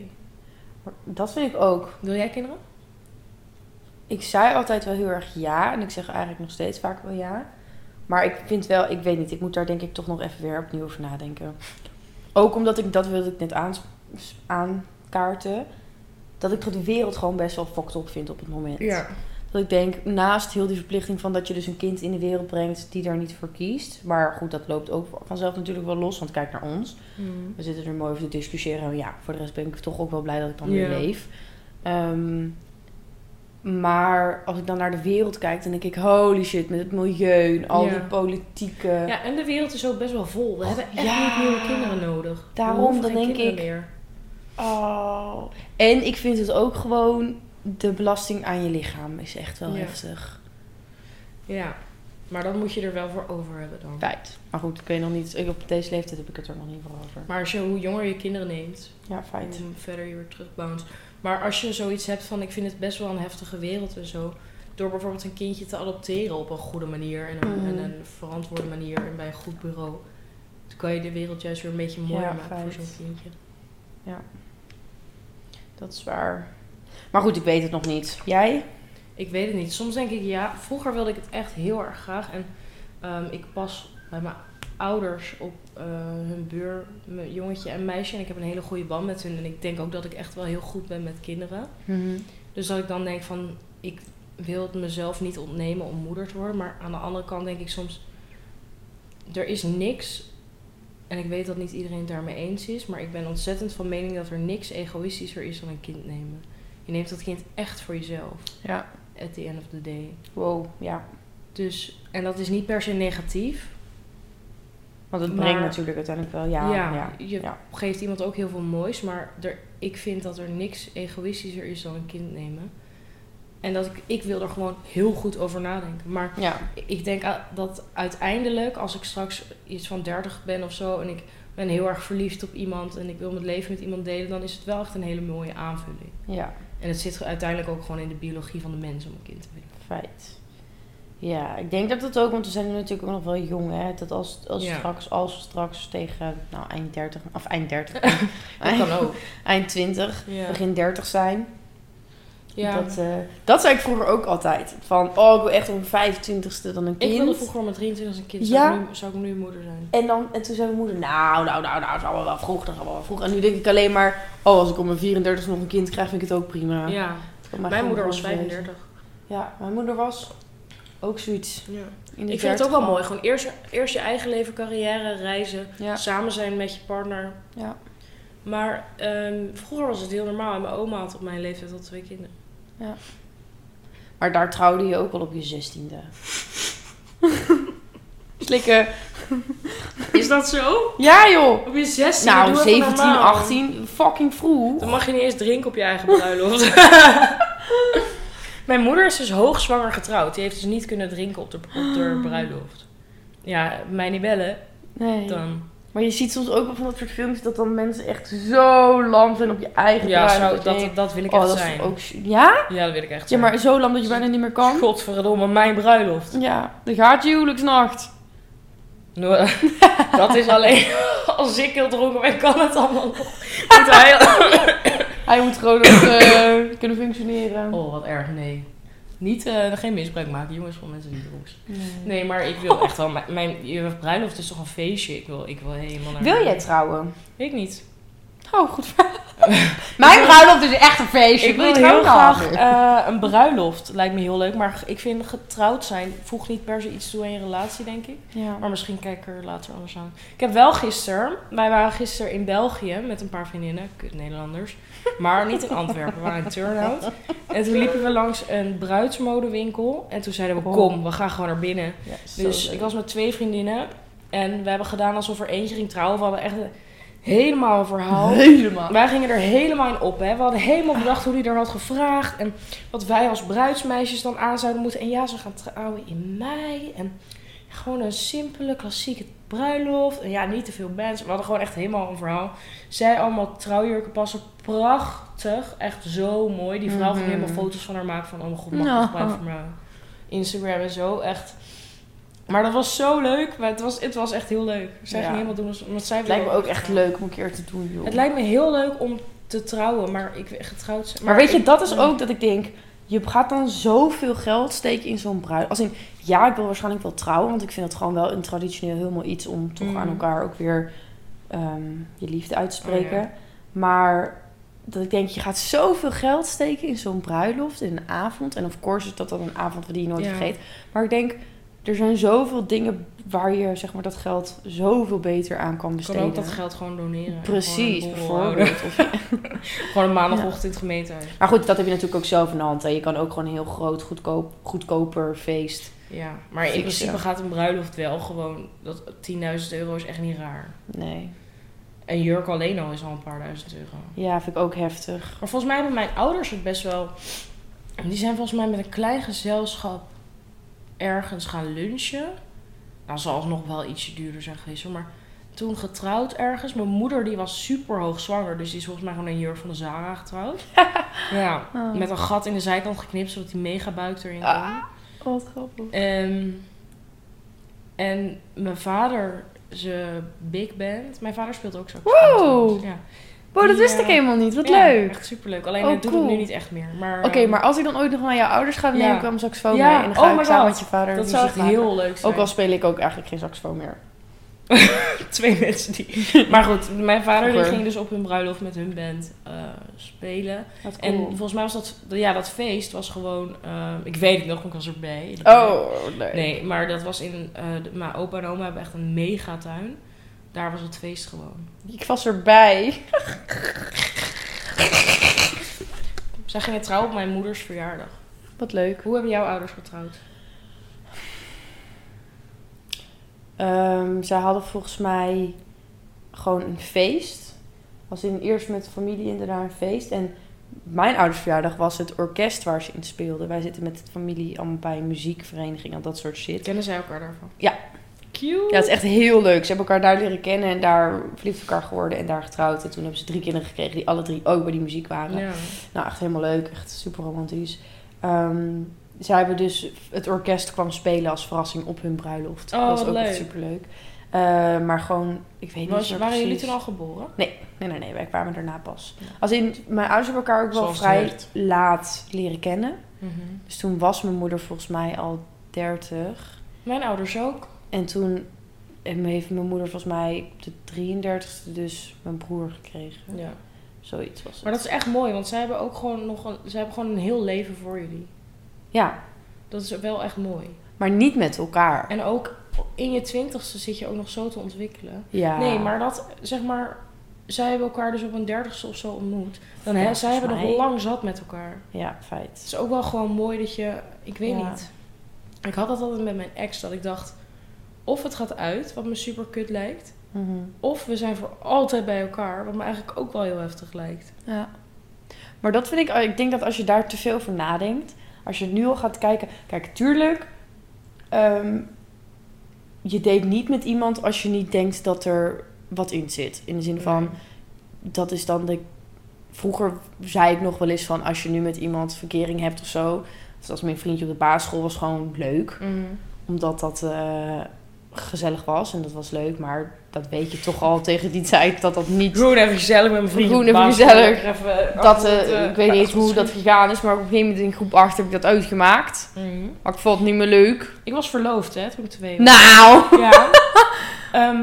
C: Maar Dat vind ik ook.
B: Wil jij kinderen?
C: Ik zei altijd wel heel erg ja. En ik zeg eigenlijk nog steeds vaak wel ja. Maar ik vind wel, ik weet niet, ik moet daar denk ik toch nog even weer opnieuw over nadenken. Ook omdat ik, dat wilde ik net aans- aankaarten, dat ik de wereld gewoon best wel fucked op vind op het moment. Dat ik denk, naast heel die verplichting van dat je dus een kind in de wereld brengt die daar niet voor kiest. Maar goed, dat loopt ook vanzelf natuurlijk wel los, want kijk naar ons.
B: Mm.
C: We zitten er mooi over te discussiëren. Maar ja, voor de rest ben ik toch ook wel blij dat ik dan weer
B: Ja.
C: leef. Ehm, maar als ik dan naar de wereld kijk, dan denk ik... holy shit, met het milieu en al
B: Ja.
C: die politieke...
B: Ja, en de wereld is ook best wel vol. We hebben echt
C: ja.
B: niet nieuwe kinderen nodig. We
C: Daarom,
B: hoeven
C: dan
B: geen
C: denk
B: kinderen
C: ik-
B: meer.
C: Oh. En ik vind het ook gewoon... de belasting aan je lichaam is echt wel
B: Ja.
C: heftig.
B: Ja, maar dan moet je er wel voor over hebben dan.
C: Feit. Maar goed, ik weet nog niet... Ik, op deze leeftijd heb ik het er nog niet voor over.
B: Maar als je, hoe jonger je kinderen neemt,
C: Ja, feit.
B: hoe verder je weer terugbounce. Maar als je zoiets hebt van, ik vind het best wel een heftige wereld en zo. Door bijvoorbeeld een kindje te adopteren op een goede manier en een,
C: Mhm.
B: en een verantwoorde manier en bij een goed bureau. Dan kan je de wereld juist weer een beetje mooier
C: Ja,
B: maken voor
C: feit.
B: zo'n kindje.
C: Dat is waar. Maar goed, ik weet het nog niet. Jij?
B: Ik weet het niet. Soms denk ik ja. Vroeger wilde ik het echt heel erg graag. En ehm, ik pas bij mijn ouders op eh, hun buur, mijn jongetje en meisje. En ik heb een hele goede band met hun. En ik denk ook dat ik echt wel heel goed ben met kinderen. Dus dat ik dan denk van, ik wil het mezelf niet ontnemen om moeder te worden. Maar aan de andere kant denk ik soms, er is niks. En ik weet dat niet iedereen het daarmee eens is. Maar ik ben ontzettend van mening dat er niks egoïstischer is dan een kind nemen. Je neemt dat kind echt voor jezelf.
C: Ja.
B: At the end of the day.
C: Wow, ja.
B: Dus, en dat is niet per se negatief.
C: Want het
B: Maar-
C: brengt natuurlijk uiteindelijk wel... Ja, ja. ja.
B: je geeft iemand ook heel veel moois, maar er, ik vind dat er niks egoïstischer is dan een kind nemen. En dat ik, ik wil er gewoon heel goed over nadenken. Maar
C: Ja.
B: ik denk a- dat uiteindelijk, als ik straks iets van 30 ben of zo en ik ben heel erg verliefd op iemand en ik wil mijn leven met iemand delen, dan is het wel echt een hele mooie aanvulling.
C: Ja,
B: En het zit uiteindelijk ook gewoon in de biologie van de mens om een kind te willen.
C: feit. Ja, ik denk dat het ook, want we zijn natuurlijk ook nog wel jong, hè. Dat als, als
B: Ja.
C: straks, als we straks tegen, nou, eind 30, of eind 30,
B: <laughs> Dat kan ook.
C: eind 20,
B: Ja.
C: begin 30 zijn.
B: Ja.
C: Dat, eh, dat zei ik vroeger ook altijd. Van, oh, ik wil echt om 25ste dan een
B: Ik wilde
C: kind.
B: vroeger om mijn 23 een kind.
C: eh, Ja.
B: Zou, ik nu, zou ik nu moeder zijn?
C: en, dan, en toen zei mijn moeder, nou, nou, nou, nou, dat is allemaal wel vroeg, dat is allemaal wel vroeg. En nu denk ik alleen maar, oh, als ik om mijn 34 nog een kind krijg, vind ik het ook prima.
B: Ja.
C: Dat mag
B: Mijn moeder was
C: gewoon wezen.
B: 35.
C: Ja, mijn moeder was ook zoiets.
B: Ja.
C: in de
B: Ik vind het ook wel
C: 30
B: mooi. Gewoon eerst, eerst je eigen leven, carrière, reizen.
C: Ja.
B: Samen zijn met je partner.
C: Ja.
B: Maar ehm, vroeger was het heel normaal. En mijn oma had op mijn leeftijd al twee kinderen.
C: Maar daar trouwde je ook al op je zestiende.
B: <laughs>
C: Slikken.
B: Is dat zo?
C: Ja joh!
B: Op je 16
C: Nou, 17, 18, fucking vroeg.
B: Dan mag je niet eens drinken op je eigen
C: <laughs>
B: bruiloft. mijn moeder is dus hoogzwanger getrouwd. Die heeft dus niet kunnen drinken op de, op de bruiloft. Ja, mij niet bellen.
C: Nee.
B: Dan...
C: Maar je ziet soms ook wel van dat soort films dat dan mensen echt zo lam zijn op je eigen
B: Ja,
C: bruiloft.
B: zou,
C: je
B: dat,
C: denkt,
B: dat wil ik
C: oh,
B: echt
C: dat is
B: zijn.
C: toch ook... Ja?
B: Ja, dat wil ik echt
C: Ja,
B: zijn.
C: maar zo lam dat je bijna niet meer kan.
B: Godverdomme, mijn bruiloft.
C: Ja, dan gaat je huwelijksnacht.
B: Nou, <laughs> dat is alleen <laughs> als ik heel dronken ben, kan het allemaal nog. Moet hij- <laughs>
C: Hij moet gewoon nog eh, kunnen functioneren.
B: Oh, wat erg, nee. Niet, eh, geen misbruik maken, jongens, van mensen die jongens.
C: Nee.
B: Nee, maar ik wil echt wel... Mijn, mijn je bruiloft is toch een feestje? Ik wil, ik wil helemaal naar...
C: Wil jij trouwen?
B: Ik niet.
C: Oh, goed <laughs> vraag. Mijn bruiloft is echt een feestje.
B: Ik wil heel graag eh, een bruiloft. Lijkt me heel leuk. Maar ik vind getrouwd zijn voegt niet per se iets toe aan je relatie, denk ik.
C: Ja.
B: Maar misschien kijk ik er later anders aan. Ik heb wel gisteren... Wij waren gisteren in België met een paar vriendinnen. Kut Nederlanders. Maar niet in Antwerpen. We waren in Turnhout. En toen liepen we langs een bruidsmodewinkel. En toen zeiden we,
C: Oh.
B: kom, we gaan gewoon naar binnen.
C: Ja, zo
B: Dus
C: leuk.
B: ik was met twee vriendinnen. En we hebben gedaan alsof er eentje ging trouwen. We hadden echt een- helemaal een verhaal.
C: <laughs> helemaal.
B: Wij gingen er helemaal in op. Hè. We hadden helemaal bedacht hoe hij er had gevraagd. En wat wij als bruidsmeisjes dan aan zouden moeten. En ja, ze gaan trouwen in mei. En gewoon een simpele, klassieke bruiloft. En ja, niet te veel bands. We hadden gewoon echt helemaal een verhaal. Zij allemaal trouwjurken passen. Prachtig. Echt zo mooi. Die vrouw ging
C: Mhm.
B: helemaal foto's van haar maken. Van, oh mijn god, mag ik
C: Nou.
B: dit gebruiken voor mijn Instagram en zo. Echt. Maar dat was zo leuk. Maar Het was, het was echt heel leuk. Zij
C: Ja.
B: ging helemaal doen. alsof- Want zij
C: Het lijkt me
B: wilde-
C: ook echt leuk om een keer te doen, joh.
B: het lijkt me heel leuk om te trouwen, maar ik wil getrouwd zijn.
C: Maar weet je,
B: ik-
C: dat is
B: ja.
C: ook dat ik denk... Je gaat dan zoveel geld steken in zo'n bruid. Als in, ja, ik wil waarschijnlijk wel trouwen. Want ik vind het gewoon wel een traditioneel helemaal iets... om toch
B: Mm.
C: aan elkaar ook weer ehm, je liefde uit te
B: Oh, ja.
C: spreken. Maar dat ik denk, je gaat zoveel geld steken in zo'n bruiloft... in een avond. En of course is dat dan een avond die je nooit
B: Ja.
C: vergeet. Maar ik denk, er zijn zoveel dingen... waar je zeg maar, dat geld zoveel beter aan kan
B: Je kan
C: besteden.
B: ook dat geld Oh, gewoon doneren.
C: Precies,
B: Gewoon een borrel houden.
C: bijvoorbeeld. Of
B: Gewoon een maandagochtend in het gemeentehuis.
C: Maar goed, dat heb je natuurlijk ook zelf in de hand. Hè. Je kan ook gewoon een heel groot, goedkoop, goedkoper feest.
B: Ja, maar in
C: Fix,
B: principe
C: ja.
B: gaat een bruiloft wel gewoon... Dat 10.000 euro is echt niet raar.
C: Nee.
B: Een jurk alleen al is al een paar duizend euro.
C: Ja, vind ik ook heftig.
B: Maar volgens mij hebben mijn ouders het best wel... Die zijn volgens mij met een klein gezelschap ergens gaan lunchen. Nou, zal het nog wel ietsje duurder zijn geweest, hoor. maar toen getrouwd ergens. Mijn moeder die was super hoog zwanger, dus die is volgens mij gewoon een jurk van de Zara
C: <laughs>
B: getrouwd. ja,
C: Oh.
B: met een gat in de zijkant geknipt, zodat die mega buik erin kwam.
C: Ah,
B: Oh,
C: wat grappig.
B: Ehm, en mijn vader, zijn big band. Mijn vader speelt ook zo.
C: Wow.
B: Ja.
C: Wow, dat
B: Die,
C: wist ik
B: eh,
C: helemaal niet. Wat
B: Ja,
C: leuk.
B: Echt superleuk. Alleen
C: Oh,
B: dat doet het
C: cool.
B: nu niet echt meer. Maar,
C: Oké,
B: ehm,
C: maar als ik dan ooit nog naar jouw ouders ga, dan
B: Ja.
C: neem ik wel mijn saxofoon
B: Ja.
C: mee. En dan ga
B: Oh my
C: ik samen
B: God.
C: met je vader
B: Dat zou
C: muziek
B: echt
C: maken.
B: heel leuk zijn.
C: Ook al speel ik ook eigenlijk geen saxofoon meer.
B: twee <laughs> mensen
C: <laughs>
B: die... Maar goed, mijn vader die
C: Oké.
B: ging dus op hun bruiloft met hun band eh, spelen.
C: Wat
B: En
C: cool.
B: volgens mij was dat... Ja, dat feest was gewoon... eh, ik weet het nog, want ik was erbij.
C: Oh, leuk.
B: Nee, maar dat was in... eh, de- mijn opa en oma hebben echt een megatuin. Daar was het feest gewoon.
C: Ik was erbij.
B: Zij gingen trouwen op mijn moeders verjaardag.
C: Wat leuk.
B: Hoe hebben jouw ouders getrouwd?
C: Ehm, zij hadden volgens mij gewoon een feest. Als in eerst met de familie en daarna een feest. En mijn ouders verjaardag was het orkest waar ze in speelden. Wij zitten met de familie allemaal bij een muziekvereniging en dat soort shit.
B: Kennen zij elkaar daarvan?
C: Ja.
B: Cute.
C: Ja, het is echt heel leuk. Ze hebben elkaar daar leren kennen en daar verliefd op elkaar geworden en daar getrouwd. En toen hebben ze drie kinderen gekregen die alle drie ook bij die muziek waren.
B: Ja.
C: Nou, echt helemaal leuk. Echt super romantisch. Ehm, zij hebben dus het orkest kwam spelen als verrassing op hun bruiloft.
B: Oh,
C: dat was
B: wat
C: ook echt
B: leuk.
C: super leuk. maar gewoon, ik weet
B: Was-
C: niet meer
B: waren jullie
C: precies.
B: toen al geboren?
C: Nee, nee, nee. Wij kwamen daarna pas. Als in, mijn ouders hebben elkaar ook wel
B: Zoals
C: vrij
B: terecht.
C: laat leren kennen. Dus toen was mijn moeder volgens mij al 30.
B: Mijn ouders ook.
C: En toen heeft mijn moeder volgens mij op de 33ste dus mijn broer gekregen.
B: Ja.
C: Zoiets was het.
B: Maar dat is echt mooi, want zij hebben ook gewoon nog een, zij hebben gewoon een heel leven voor jullie.
C: Ja,
B: Dat is wel echt mooi.
C: maar niet met elkaar.
B: En ook in je twintigste zit je ook nog zo te ontwikkelen.
C: Ja.
B: Nee, maar dat zeg maar, zij hebben elkaar dus op een dertigste of zo ontmoet. Dan hè,
C: Volgens
B: zij hebben nog
C: mij.
B: lang zat met elkaar.
C: Ja,
B: Het
C: feit.
B: is ook wel gewoon mooi dat je, ik weet
C: Ja.
B: niet. Ik had dat altijd met mijn ex dat ik dacht, of het gaat uit, wat me super kut lijkt,
C: Mhm.
B: of we zijn voor altijd bij elkaar, wat me eigenlijk ook wel heel heftig lijkt.
C: Ja. Maar dat vind ik, ik denk dat als je daar te veel over nadenkt, als je nu al gaat kijken, kijk, tuurlijk, ehm, je date niet met iemand als je niet denkt dat er wat in zit. In de zin van, dat is dan de, vroeger zei ik nog wel eens van, als je nu met iemand verkering hebt of
B: Mm.
C: zo, of als mijn vriendje op de basisschool was gewoon leuk,
B: Mhm.
C: omdat dat eh, gezellig was en dat was leuk, maar dat weet je toch al <laughs> tegen die tijd dat dat niet.
B: Groen even gezellig met mijn vrienden.
C: Groen even
B: Baas,
C: gezellig.
B: lekker even
C: Dat,
B: achter
C: eh,
B: het, eh,
C: ik weet niet eens hoe dat gegaan is, maar op een gegeven moment in groep 8 heb ik dat uitgemaakt.
B: Mhm.
C: Maar ik vond het niet meer leuk.
B: Ik was verloofd, hè, toen ik twee was.
C: Nou!
B: Ja. Ehm,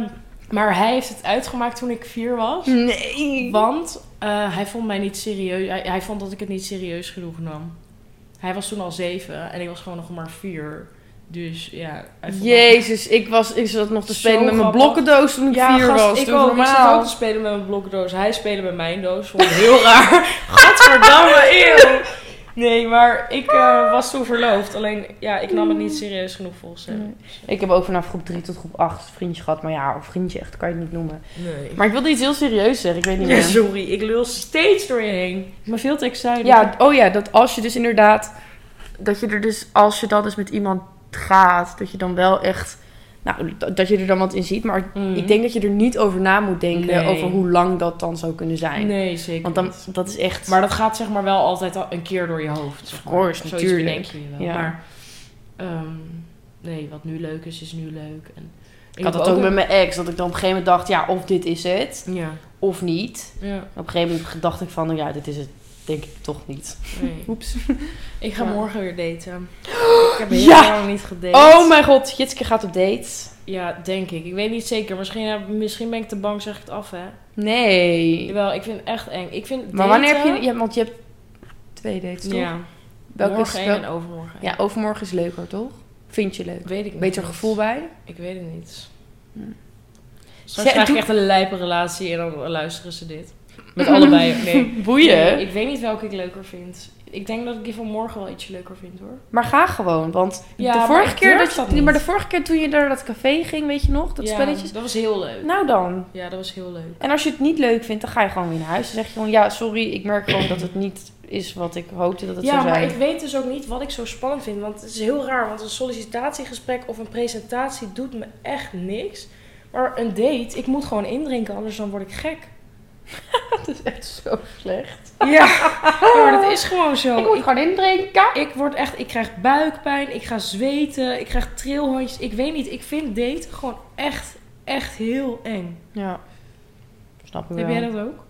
B: maar hij heeft het uitgemaakt toen ik vier was.
C: Nee!
B: Want eh, hij vond mij niet serieus. Hij, hij vond dat ik het niet serieus genoeg nam. Hij was toen al zeven en ik was gewoon nog maar vier. Dus ja. hij vond
C: Jezus, ik was ik zat nog te
B: Zo
C: spelen met mijn
B: grappig.
C: blokkendoos toen ik
B: dat- Ja,
C: vier
B: gast,
C: was.
B: ik
C: Doe
B: ook. Ik zat
C: normaal.
B: ook te spelen met mijn blokdoos. Hij speelde met mijn doos. Vond ik heel raar. <laughs> Gadverdamme, eeuw. Nee, maar ik eh, was toen verloofd. Alleen, ja, ik nam het niet serieus genoeg volgens hem.
C: Ik heb ook vanaf groep 3 tot groep 8 vriendjes gehad. Maar ja, een vriendje echt kan je het niet noemen.
B: Nee.
C: Maar ik wilde iets heel serieus zeggen. Ik weet niet
B: Ja,
C: meer.
B: sorry, ik lul steeds door je heen. Ik ben veel te excited.
C: Ja, oh ja, dat als je dus inderdaad. Dat je er dus, als je dan dus met iemand gaat, dat je dan wel echt. Nou, dat- dat je er dan wat in ziet. Maar
B: Mm.
C: ik denk dat je er niet over na moet denken.
B: Nee.
C: Over hoe lang dat dan zou kunnen zijn.
B: Nee, zeker
C: Want dan,
B: niet.
C: dat is echt.
B: Maar dat gaat zeg maar wel altijd al een keer door je hoofd. Of
C: course, natuurlijk.
B: Denk je wel.
C: Ja.
B: Maar ehm, nee, wat nu leuk is, is nu leuk. En
C: ik had dat ook met mijn ex. Dat ik dan op een gegeven moment dacht, ja, of dit is het,
B: mijn... Ja.
C: of niet.
B: ja.
C: Op een gegeven moment dacht ik van, nou ja, dit is het denk ik toch niet.
B: Nee.
C: Oeps.
B: Ik ga
C: Ja.
B: morgen weer daten. <gasps> Ik heb heel
C: Ja!
B: lang niet gedate.
C: Oh mijn god, Jitske gaat op date.
B: Ja, denk ik. Ik weet niet zeker. Misschien, eh, misschien ben ik te bang, zeg ik het af, hè.
C: Nee.
B: Jawel, ik vind het echt eng. Ik vind
C: Maar wanneer heb
B: daten-
C: je... Ja, want je hebt twee dates, toch?
B: Ja,
C: Welke
B: morgen
C: is,
B: één en
C: wel-
B: overmorgen één.
C: Ja, overmorgen is leuker, toch? Vind je leuk?
B: Weet ik niet.
C: Beter gevoel bij?
B: Ik weet het niet.
C: Hmm.
B: Straks
C: Zij-
B: krijg je
C: doe-
B: echt een lijpe relatie en dan luisteren ze dit. Met <laughs> allebei. Nee.
C: Boeien.
B: Nee, ik weet niet welke ik leuker vind. Ik denk dat ik die van morgen wel ietsje leuker vind hoor.
C: Maar ga gewoon, want
B: Ja,
C: de
B: maar
C: vorige
B: ik
C: keer
B: durf
C: dat je,
B: dat niet.
C: maar de vorige keer toen je naar dat café ging, weet je nog, dat
B: Ja,
C: spelletjes.
B: Dat was heel leuk.
C: Nou dan.
B: Ja, dat was heel leuk.
C: En als je het niet leuk vindt, dan ga je gewoon weer naar huis. Dan zeg je gewoon, ja, sorry, ik merk gewoon dat het niet is wat ik hoopte dat het
B: ja,
C: zou zijn.
B: maar
C: <laughs>
B: ik weet dus ook niet wat ik zo spannend vind. Want het is heel raar, want een sollicitatiegesprek of een presentatie doet me echt niks. Maar een date, ik moet gewoon indrinken, anders dan word ik gek.
C: Dat is echt zo slecht.
B: Ja, maar dat is gewoon zo.
C: ik moet
B: Oh, Ik-
C: gewoon indrinken.
B: Ik word echt, ik krijg buikpijn, ik ga zweten, ik krijg trilhandjes. Ik weet niet, ik vind daten gewoon echt, echt heel eng.
C: Ja. Snap je wel.
B: Heb jij dat ook?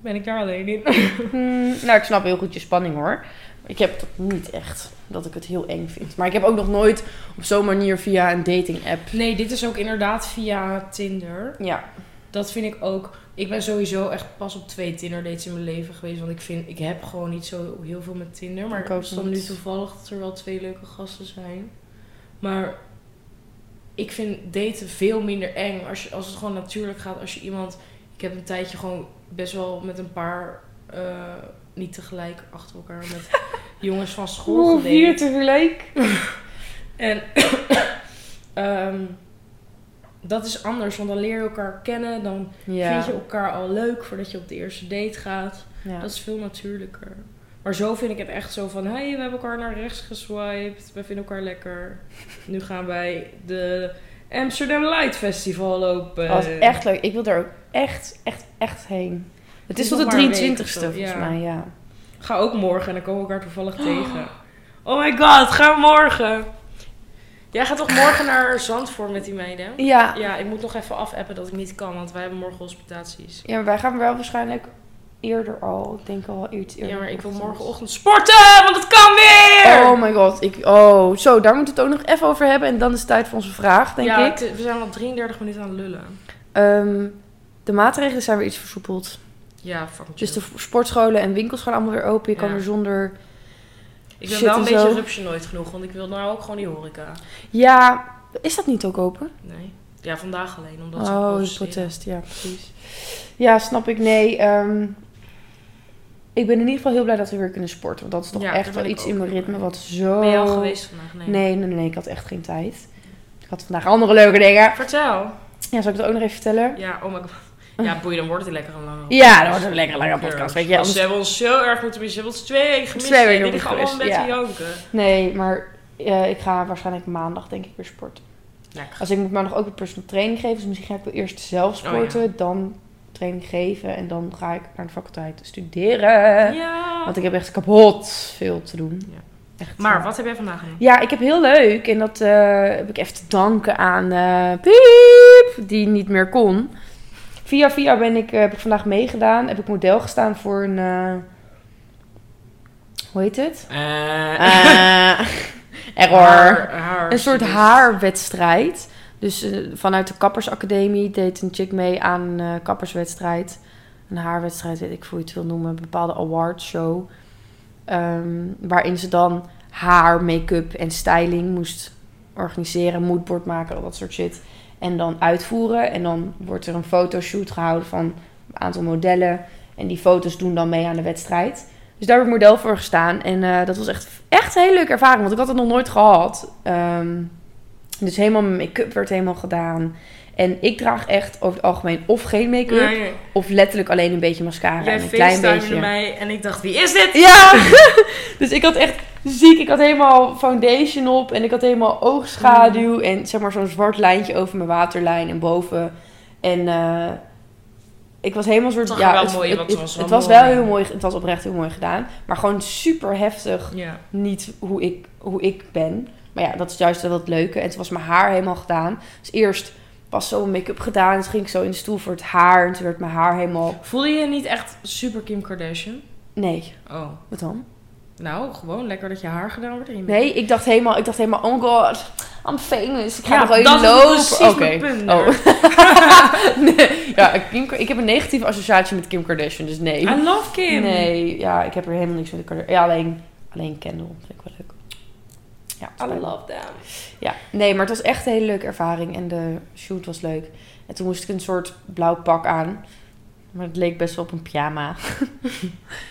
B: Ben ik daar alleen in?
C: Hmm, nou, ik snap heel goed je spanning hoor. Ik heb dat niet echt, dat ik het heel eng vind. Maar ik heb ook nog nooit op zo'n manier via een dating app.
B: Nee, dit is ook inderdaad via Tinder.
C: Ja.
B: Dat vind ik ook. Ik ben sowieso echt pas op twee Tinder dates in mijn leven geweest. Want ik vind, ik heb gewoon niet zo heel veel met Tinder. Maar
C: Ik ook
B: het is dan
C: niet.
B: nu toevallig dat er wel twee leuke gasten zijn. Maar ik vind daten veel minder eng als, je, als het gewoon natuurlijk gaat. Als je iemand. Ik heb een tijdje gewoon best wel met een paar. eh, niet tegelijk achter elkaar.
C: <laughs>
B: Met jongens van school gedate.
C: tegelijk.
B: En <coughs> ehm, dat is anders, want dan leer je elkaar kennen. Dan
C: Ja.
B: vind je elkaar al leuk voordat je op de eerste date gaat.
C: ja.
B: Dat is veel natuurlijker. Maar zo vind ik het echt zo van... hey, we hebben elkaar naar rechts geswiped. We vinden elkaar
C: <laughs>
B: lekker. Nu gaan wij de Amsterdam Light Festival lopen.
C: Dat was echt leuk. Ik wil daar ook echt, echt, echt heen. Het is
B: is
C: tot
B: nog
C: de
B: maar een week
C: 23ste
B: of zo,
C: volgens
B: ja.
C: mij, ja.
B: Ga ook morgen en dan komen we elkaar
C: <gasps>
B: toevallig tegen. Oh my god, ga morgen. Jij gaat toch morgen naar Zandvoort met die meiden?
C: Ja.
B: Ja, ik moet nog even afappen dat ik niet kan, want wij hebben morgen hospitaties.
C: Ja, maar wij gaan wel waarschijnlijk eerder al. Ik denk al wel iets eerder.
B: Ja, maar ik wil morgenochtend sporten, want het kan weer!
C: Oh my god. Ik, oh, zo, daar moeten we het ook nog even over hebben. En dan is het tijd voor onze vraag, denk
B: ja,
C: ik.
B: het- we zijn al 33 minuten aan het lullen.
C: Ehm, de maatregelen zijn weer iets versoepeld.
B: Ja, fucking
C: Dus de
B: chill.
C: v- sportscholen en winkels gaan allemaal weer open. Je kan
B: Ja.
C: weer zonder...
B: Ik ben
C: shit
B: wel een
C: en
B: beetje
C: zo.
B: rupsje nooit genoeg, want ik wil nou ook gewoon die horeca.
C: Ja, is dat niet ook open?
B: Nee. Ja, vandaag alleen, omdat ze
C: Oh, het
B: protesteren.
C: protest. Ja, precies. Ja, snap ik. Nee, ehm, ik ben in ieder geval heel blij dat we weer kunnen sporten. Want dat is toch
B: Ja,
C: echt
B: daar
C: wel
B: ben ik
C: iets
B: ook
C: in mijn
B: heel
C: ritme
B: blij
C: wat zo...
B: Ben je al geweest vandaag? Nee.
C: oh. Nee, nee, nee. Ik had echt geen tijd. Ik had vandaag andere leuke dingen.
B: Vertel.
C: Ja, zal ik het ook nog even vertellen?
B: Ja, oh my god. Ja, boeien, dan wordt het lekker een lange
C: Ja, dat wordt een lekkere lange podcast, weet je.
B: Ze
C: Anders-
B: hebben ons zo erg moeten missen. Ze hebben ons twee weken gemist.
C: Twee
B: Twee
C: weken
B: weken
C: moeten
B: gaan allemaal met
C: gemist,
B: die janken.
C: Nee, maar eh, ik ga waarschijnlijk maandag denk ik weer sporten.
B: Ja, ik ga-
C: Als ik moet maandag ook weer personal training geven. Dus misschien ga ik wel eerst zelf
B: Oh, ja.
C: sporten. Dan training geven. En dan ga ik naar de faculteit studeren.
B: ja.
C: Want ik heb echt kapot veel te doen.
B: Ja.
C: Echt,
B: Maar
C: eh,
B: wat heb jij vandaag gedaan?
C: Ja, ik heb heel leuk. En dat eh, heb ik even te danken aan eh, Piep, die niet meer kon. Via via ben ik, eh, heb ik vandaag meegedaan. Heb ik model gestaan voor een... eh, hoe heet
B: <laughs>
C: het? Eh,
B: Ah.
C: error. Een soort haarwedstrijd. Dus eh, vanuit de kappersacademie deed een chick mee aan een eh, kapperswedstrijd. Een haarwedstrijd, weet ik hoe je het wil noemen. Een bepaalde awardshow. Ehm waarin ze dan haar, make-up en styling moest organiseren. Moodboard maken, al dat soort shit. En dan uitvoeren. En dan wordt er een fotoshoot gehouden van een aantal modellen. En die foto's doen dan mee aan de wedstrijd. Dus daar heb ik model voor gestaan. En eh, dat was echt, echt een hele leuke ervaring. Want ik had het nog nooit gehad. Ehm, dus helemaal mijn make-up werd helemaal gedaan. En ik draag echt over het algemeen of geen make-up.
B: Nee, nee.
C: Of letterlijk alleen een beetje mascara
B: Jij
C: en een klein
B: facetimede
C: beetje.
B: mij en ik dacht, wie is dit?
C: Ja, <laughs> dus ik had echt ziek. Ik had helemaal foundation op en ik had helemaal
B: Mm.
C: oogschaduw en zeg maar zo'n zwart lijntje over mijn waterlijn en boven. En eh, ik was helemaal een soort.
B: Het zag er wel
C: het,
B: mooi,
C: het,
B: want
C: het,
B: het was wel
C: het was
B: mooi.
C: wel heel mooi. Het was oprecht heel mooi gedaan, maar gewoon super heftig
B: Ja.
C: niet hoe ik, hoe ik ben. Maar ja, dat is juist wel het leuke. En toen was mijn haar helemaal gedaan. Dus eerst was zo'n make-up gedaan. En toen ging ik zo in de stoel voor het haar. En toen werd mijn haar helemaal...
B: Voelde je je niet echt super Kim Kardashian?
C: Nee,
B: Oh.
C: wat dan?
B: Nou, gewoon lekker dat je haar gedaan wordt. en je
C: Nee, ik dacht helemaal, ik dacht helemaal oh god, I'm famous. Ik ga
B: Ja,
C: nog
B: dat
C: even
B: is
C: lopen.
B: precies
C: Oké.
B: mijn punt.
C: Oh. <laughs> nee, ja, Kim, ik heb een negatieve associatie met Kim Kardashian, dus nee.
B: I love Kim.
C: Nee, ja, ik heb er helemaal niks met de Kardashian. Ja, alleen, alleen Kendall vind ik wel leuk. Ja,
B: I
C: fijn.
B: love them.
C: Ja, nee, maar het was echt een hele leuke ervaring en de shoot was leuk. En toen moest ik een soort blauw pak aan, maar het leek best wel op een pyjama. <laughs>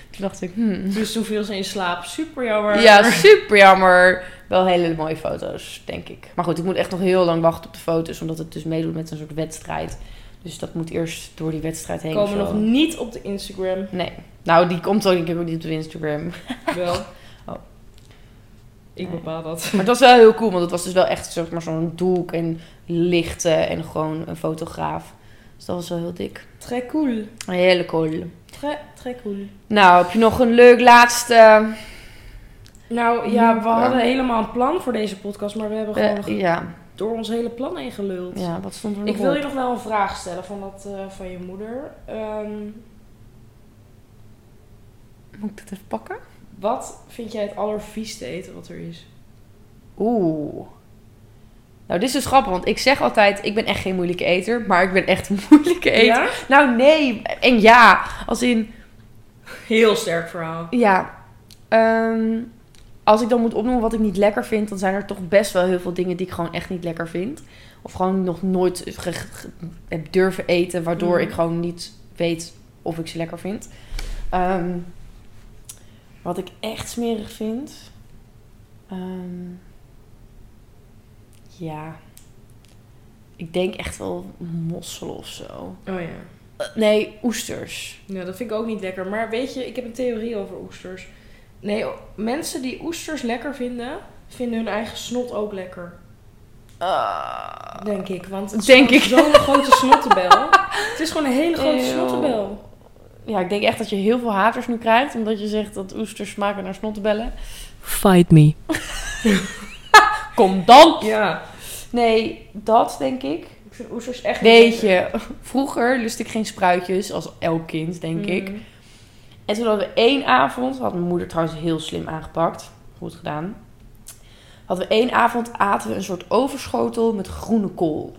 C: toen dacht ik, hmm.
B: Dus toen viel ze in slaap. Super jammer.
C: Ja, super jammer. Wel hele mooie foto's, denk ik. Maar goed, ik moet echt nog heel lang wachten op de foto's, omdat het dus meedoet met een soort wedstrijd. Dus dat moet eerst door die wedstrijd heen.
B: Komen
C: of zo.
B: nog niet op de Instagram.
C: Nee. Nou, die komt ook, ik heb ook niet op Instagram. <laughs>
B: Wel.
C: Oh.
B: Ik
C: Nee.
B: bepaal dat.
C: Maar het was wel heel cool, want het was dus wel echt zeg maar, zo'n doek en lichten en gewoon een fotograaf. Dus dat was wel heel dik.
B: Très cool.
C: Hele cool.
B: Très, très cool.
C: Nou, heb je nog een leuk laatste...
B: Nou ja, we
C: Ja.
B: hadden helemaal een plan voor deze podcast, maar we hebben
C: eh,
B: gewoon
C: Mm. ja.
B: door ons hele plan heen geluld.
C: ja, wat stond er nog
B: Ik wil
C: op?
B: je nog wel een vraag stellen van, dat, eh, van je moeder. Ehm,
C: Moet ik dit even pakken?
B: wat vind jij het allervieste eten wat er is?
C: Oeh. Nou, dit is dus grappig, want ik zeg altijd, ik ben echt geen moeilijke eter, maar ik ben echt een <laughs> moeilijke eter.
B: Ja?
C: Nou, nee. En ja, als in,
B: Heel sterk verhaal.
C: Ja. Ehm, als ik dan moet opnoemen wat ik niet lekker vind, dan zijn er toch best wel heel veel dingen die ik gewoon echt niet lekker vind. Of gewoon nog nooit ge- ge- heb durven eten, waardoor
B: Mhm.
C: ik gewoon niet weet of ik ze lekker vind. Ehm, wat ik echt smerig vind. ehm, ja. Ik denk echt wel mossel of zo.
B: Oh ja.
C: Eh, Nee, oesters.
B: Nou, dat vind ik ook niet lekker. Maar weet je, ik heb een theorie over oesters. Nee, o- mensen die oesters lekker vinden, vinden hun eigen snot ook lekker.
C: Ah.
B: Denk ik. Want het
C: Denk
B: is gewoon
C: <laughs>
B: zo'n grote snottebel. Het is gewoon een hele grote
C: Eeuw.
B: snottebel.
C: Ja, ik denk echt dat je heel veel haters nu krijgt. Omdat je zegt dat oesters smaken naar snottebellen.
A: Fight me.
C: Kom dan!
B: Ja.
C: Nee, dat denk ik.
B: Ik vind oesters echt niet
C: Weet
B: lekker.
C: je, vroeger lust ik geen spruitjes als elk kind, denk ik.
B: Mm.
C: En toen hadden we één avond, had mijn moeder trouwens heel slim aangepakt. Goed gedaan. Hadden we één avond, aten we een soort overschotel met groene kool.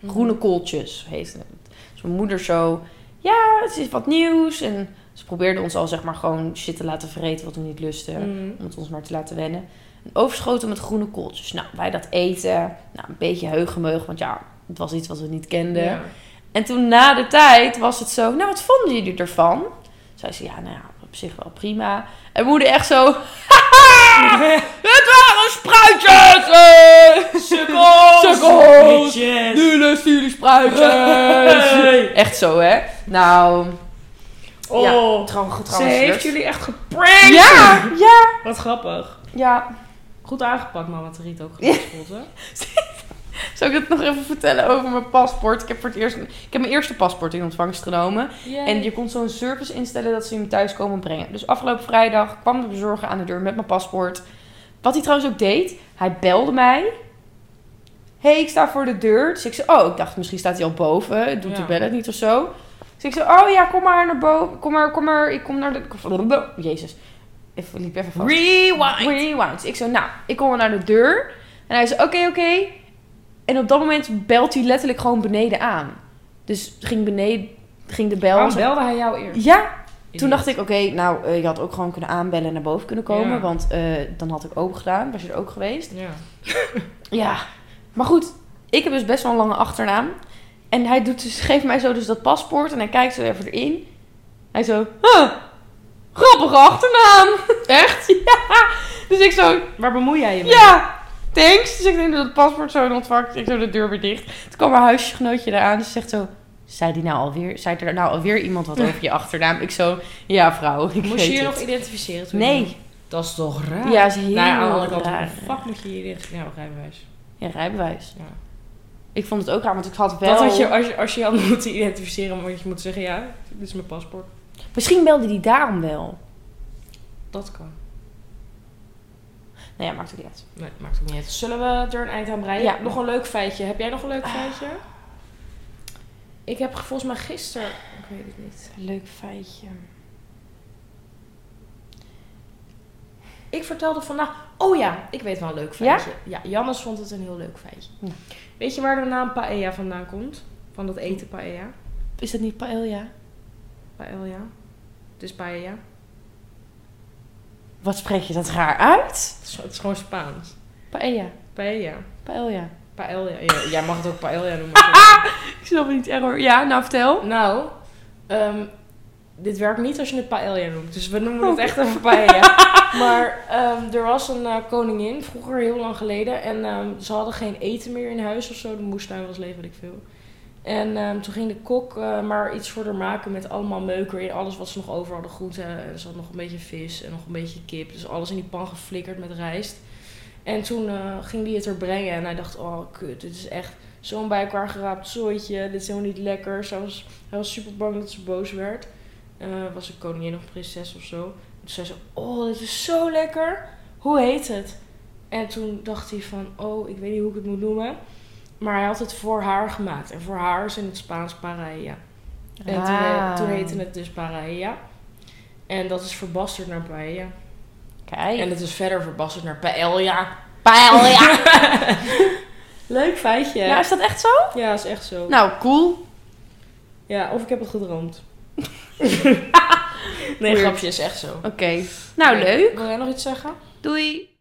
B: Mhm.
C: Groene kooltjes heette het. Dus mijn moeder zo, ja, het is wat nieuws. En ze probeerde ons al zeg maar gewoon shit te laten vreten wat we niet lusten.
B: Mm.
C: om het ons maar te laten wennen. Een overschoten met groene kooltjes. Nou, wij dat eten. Nou, een beetje heugenmeug, want ja, het was iets wat we niet kenden.
B: Ja.
C: En toen na de tijd was het zo, nou, wat vonden jullie ervan? Zei ze, ja, nou ja, op zich wel prima. En moeder echt zo, <laughs> haha, het waren spruitjes! <laughs> eh,
B: Sukkels!
C: Sukkels!
B: Bitches!
C: Nu lusten jullie spruitjes!
B: Hey!
C: Echt zo, hè? Nou,
B: Oh,
C: trouwens,
B: ze
C: trouwens.
B: heeft jullie echt geprankt!
C: Ja, ja,
B: Wat grappig.
C: ja.
B: Goed aangepakt, mama Tariet
C: <laughs>
B: ook geschoten.
C: Zou ik het nog even vertellen over mijn paspoort? Ik heb, voor het eerst, ik heb mijn eerste paspoort in ontvangst genomen. En je kon zo'n service instellen dat ze hem thuis komen brengen. Dus afgelopen vrijdag kwam de bezorger aan de deur met mijn paspoort. Wat hij trouwens ook deed, hij belde mij. Hé, hey, ik sta voor de deur. Dus ik zei, oh, ik dacht misschien staat hij al boven. Doet
B: Ja.
C: de bellen niet of zo. Dus ik zei, oh ja, kom maar naar boven. Kom maar, kom maar. Ik kom naar de... Jezus. Even, liep even vast.
B: Rewind.
C: Rewind. Ik zo, nou, ik kom naar de deur. En hij zei, oké, oké. En op dat moment belt hij letterlijk gewoon beneden aan. Dus ging beneden, ging de bel.
B: Waarom belde hij jou eerst?
C: Ja. Toen dacht ik, oké, nou, eh, je had ook gewoon kunnen aanbellen en naar boven kunnen komen.
B: Ja.
C: Want eh, dan had ik open gedaan. Was je er ook geweest?
B: Ja.
C: Ja. Maar goed, ik heb dus best wel een lange achternaam. En hij doet dus, <laughs> geeft mij zo dus dat paspoort en hij kijkt zo even erin. Hij zo, huh, grappige achternaam. <laughs> Echt? Ja. Dus ik zo,
B: Waar bemoei jij je mee?
C: ja, thanks. Dus ik neem het paspoort zo in ontvangst. Ik doe de deur weer dicht. Toen kwam mijn huisgenootje eraan. Ze zegt zo, zei, die nou alweer, zei er nou alweer iemand wat over je achternaam? Ik zo, ja vrouw, ik
A: Moest
C: weet
A: je je
C: het."
A: nog identificeren toen? je-
C: Nee.
B: Dat is toch raar?
C: Ja, ze is heel
B: Nou ja, aan de andere kant,
C: raar.
B: hoe de fuck moet je hier in? Ja, rijbewijs.
C: Ja, rijbewijs.
B: Ja.
C: Ik vond het ook raar, want ik had wel...
B: Dat had je, als je, als je je had moeten identificeren, moet je moeten zeggen, ja, dit is mijn paspoort.
C: Misschien belde die daarom wel.
B: Dat kan.
C: Nou ja, maakt ook niet uit.
B: Nee, maakt ook niet uit. Zullen we er een eind aan breien?
C: Ja. Ah.
B: Nog een leuk feitje. Heb jij nog een leuk feitje? Ik heb volgens mij gisteren... Ik weet het niet.
C: Leuk feitje.
B: Ik vertelde vandaag... Oh ja, ik weet wel een leuk
C: Ja?
B: feitje. Ja? Jannes vond het een heel leuk feitje.
C: Ja.
B: Weet je waar de naam paella vandaan komt? Van dat eten paella?
C: Is dat niet paella?
B: Paella. Het is paella.
C: Wat spreek je dat raar uit?
B: Het is, het is gewoon Spaans.
C: Paella.
B: Paella.
C: Paella.
B: Paella. Ja, jij mag het ook paella noemen. maar-
C: Ik snap het niet erg hoor. Ja, nou vertel.
B: Nou, ehm, dit werkt niet als je het paella noemt. Dus we noemen het echt even paella. Maar ehm, er was een eh, koningin, vroeger heel lang geleden. En ehm, ze hadden geen eten meer in huis of zo. De moestuin was leeg, weet ik veel. En ehm, toen ging de kok eh, maar iets voor haar maken met allemaal meuker in. Alles wat ze nog over hadden, groenten. En ze had nog een beetje vis en nog een beetje kip. Dus alles in die pan geflikkerd met rijst. En toen eh, ging die het er brengen. En hij dacht, oh kut, dit is echt zo'n bij elkaar geraapt zooitje. Dit is helemaal niet lekker. Ze was hij was super bang dat ze boos werd. Eh, was een koningin of prinses of zo. Toen zei ze, oh, dit is zo lekker. Hoe heet het? En toen dacht hij van, oh, ik weet niet hoe ik het moet noemen. Maar hij had het voor haar gemaakt. En voor haar is in het Spaans paella. En toen, he-
C: Ah.
B: toen heette het dus paella. En dat is verbasterd naar paella.
C: Kijk.
B: En het is verder verbasterd naar paella.
C: paella.
B: <laughs> Leuk feitje.
C: ja,
B: Ja,
C: is dat echt zo?
B: ja is echt zo.
C: Nou, cool.
B: Ja, of ik heb het
C: <laughs>
B: gedroomd. nee,
C: Weird.
B: grapje, is echt zo.
C: Oké. Nou, leuk.
B: Wil jij nog iets zeggen?
C: Doei.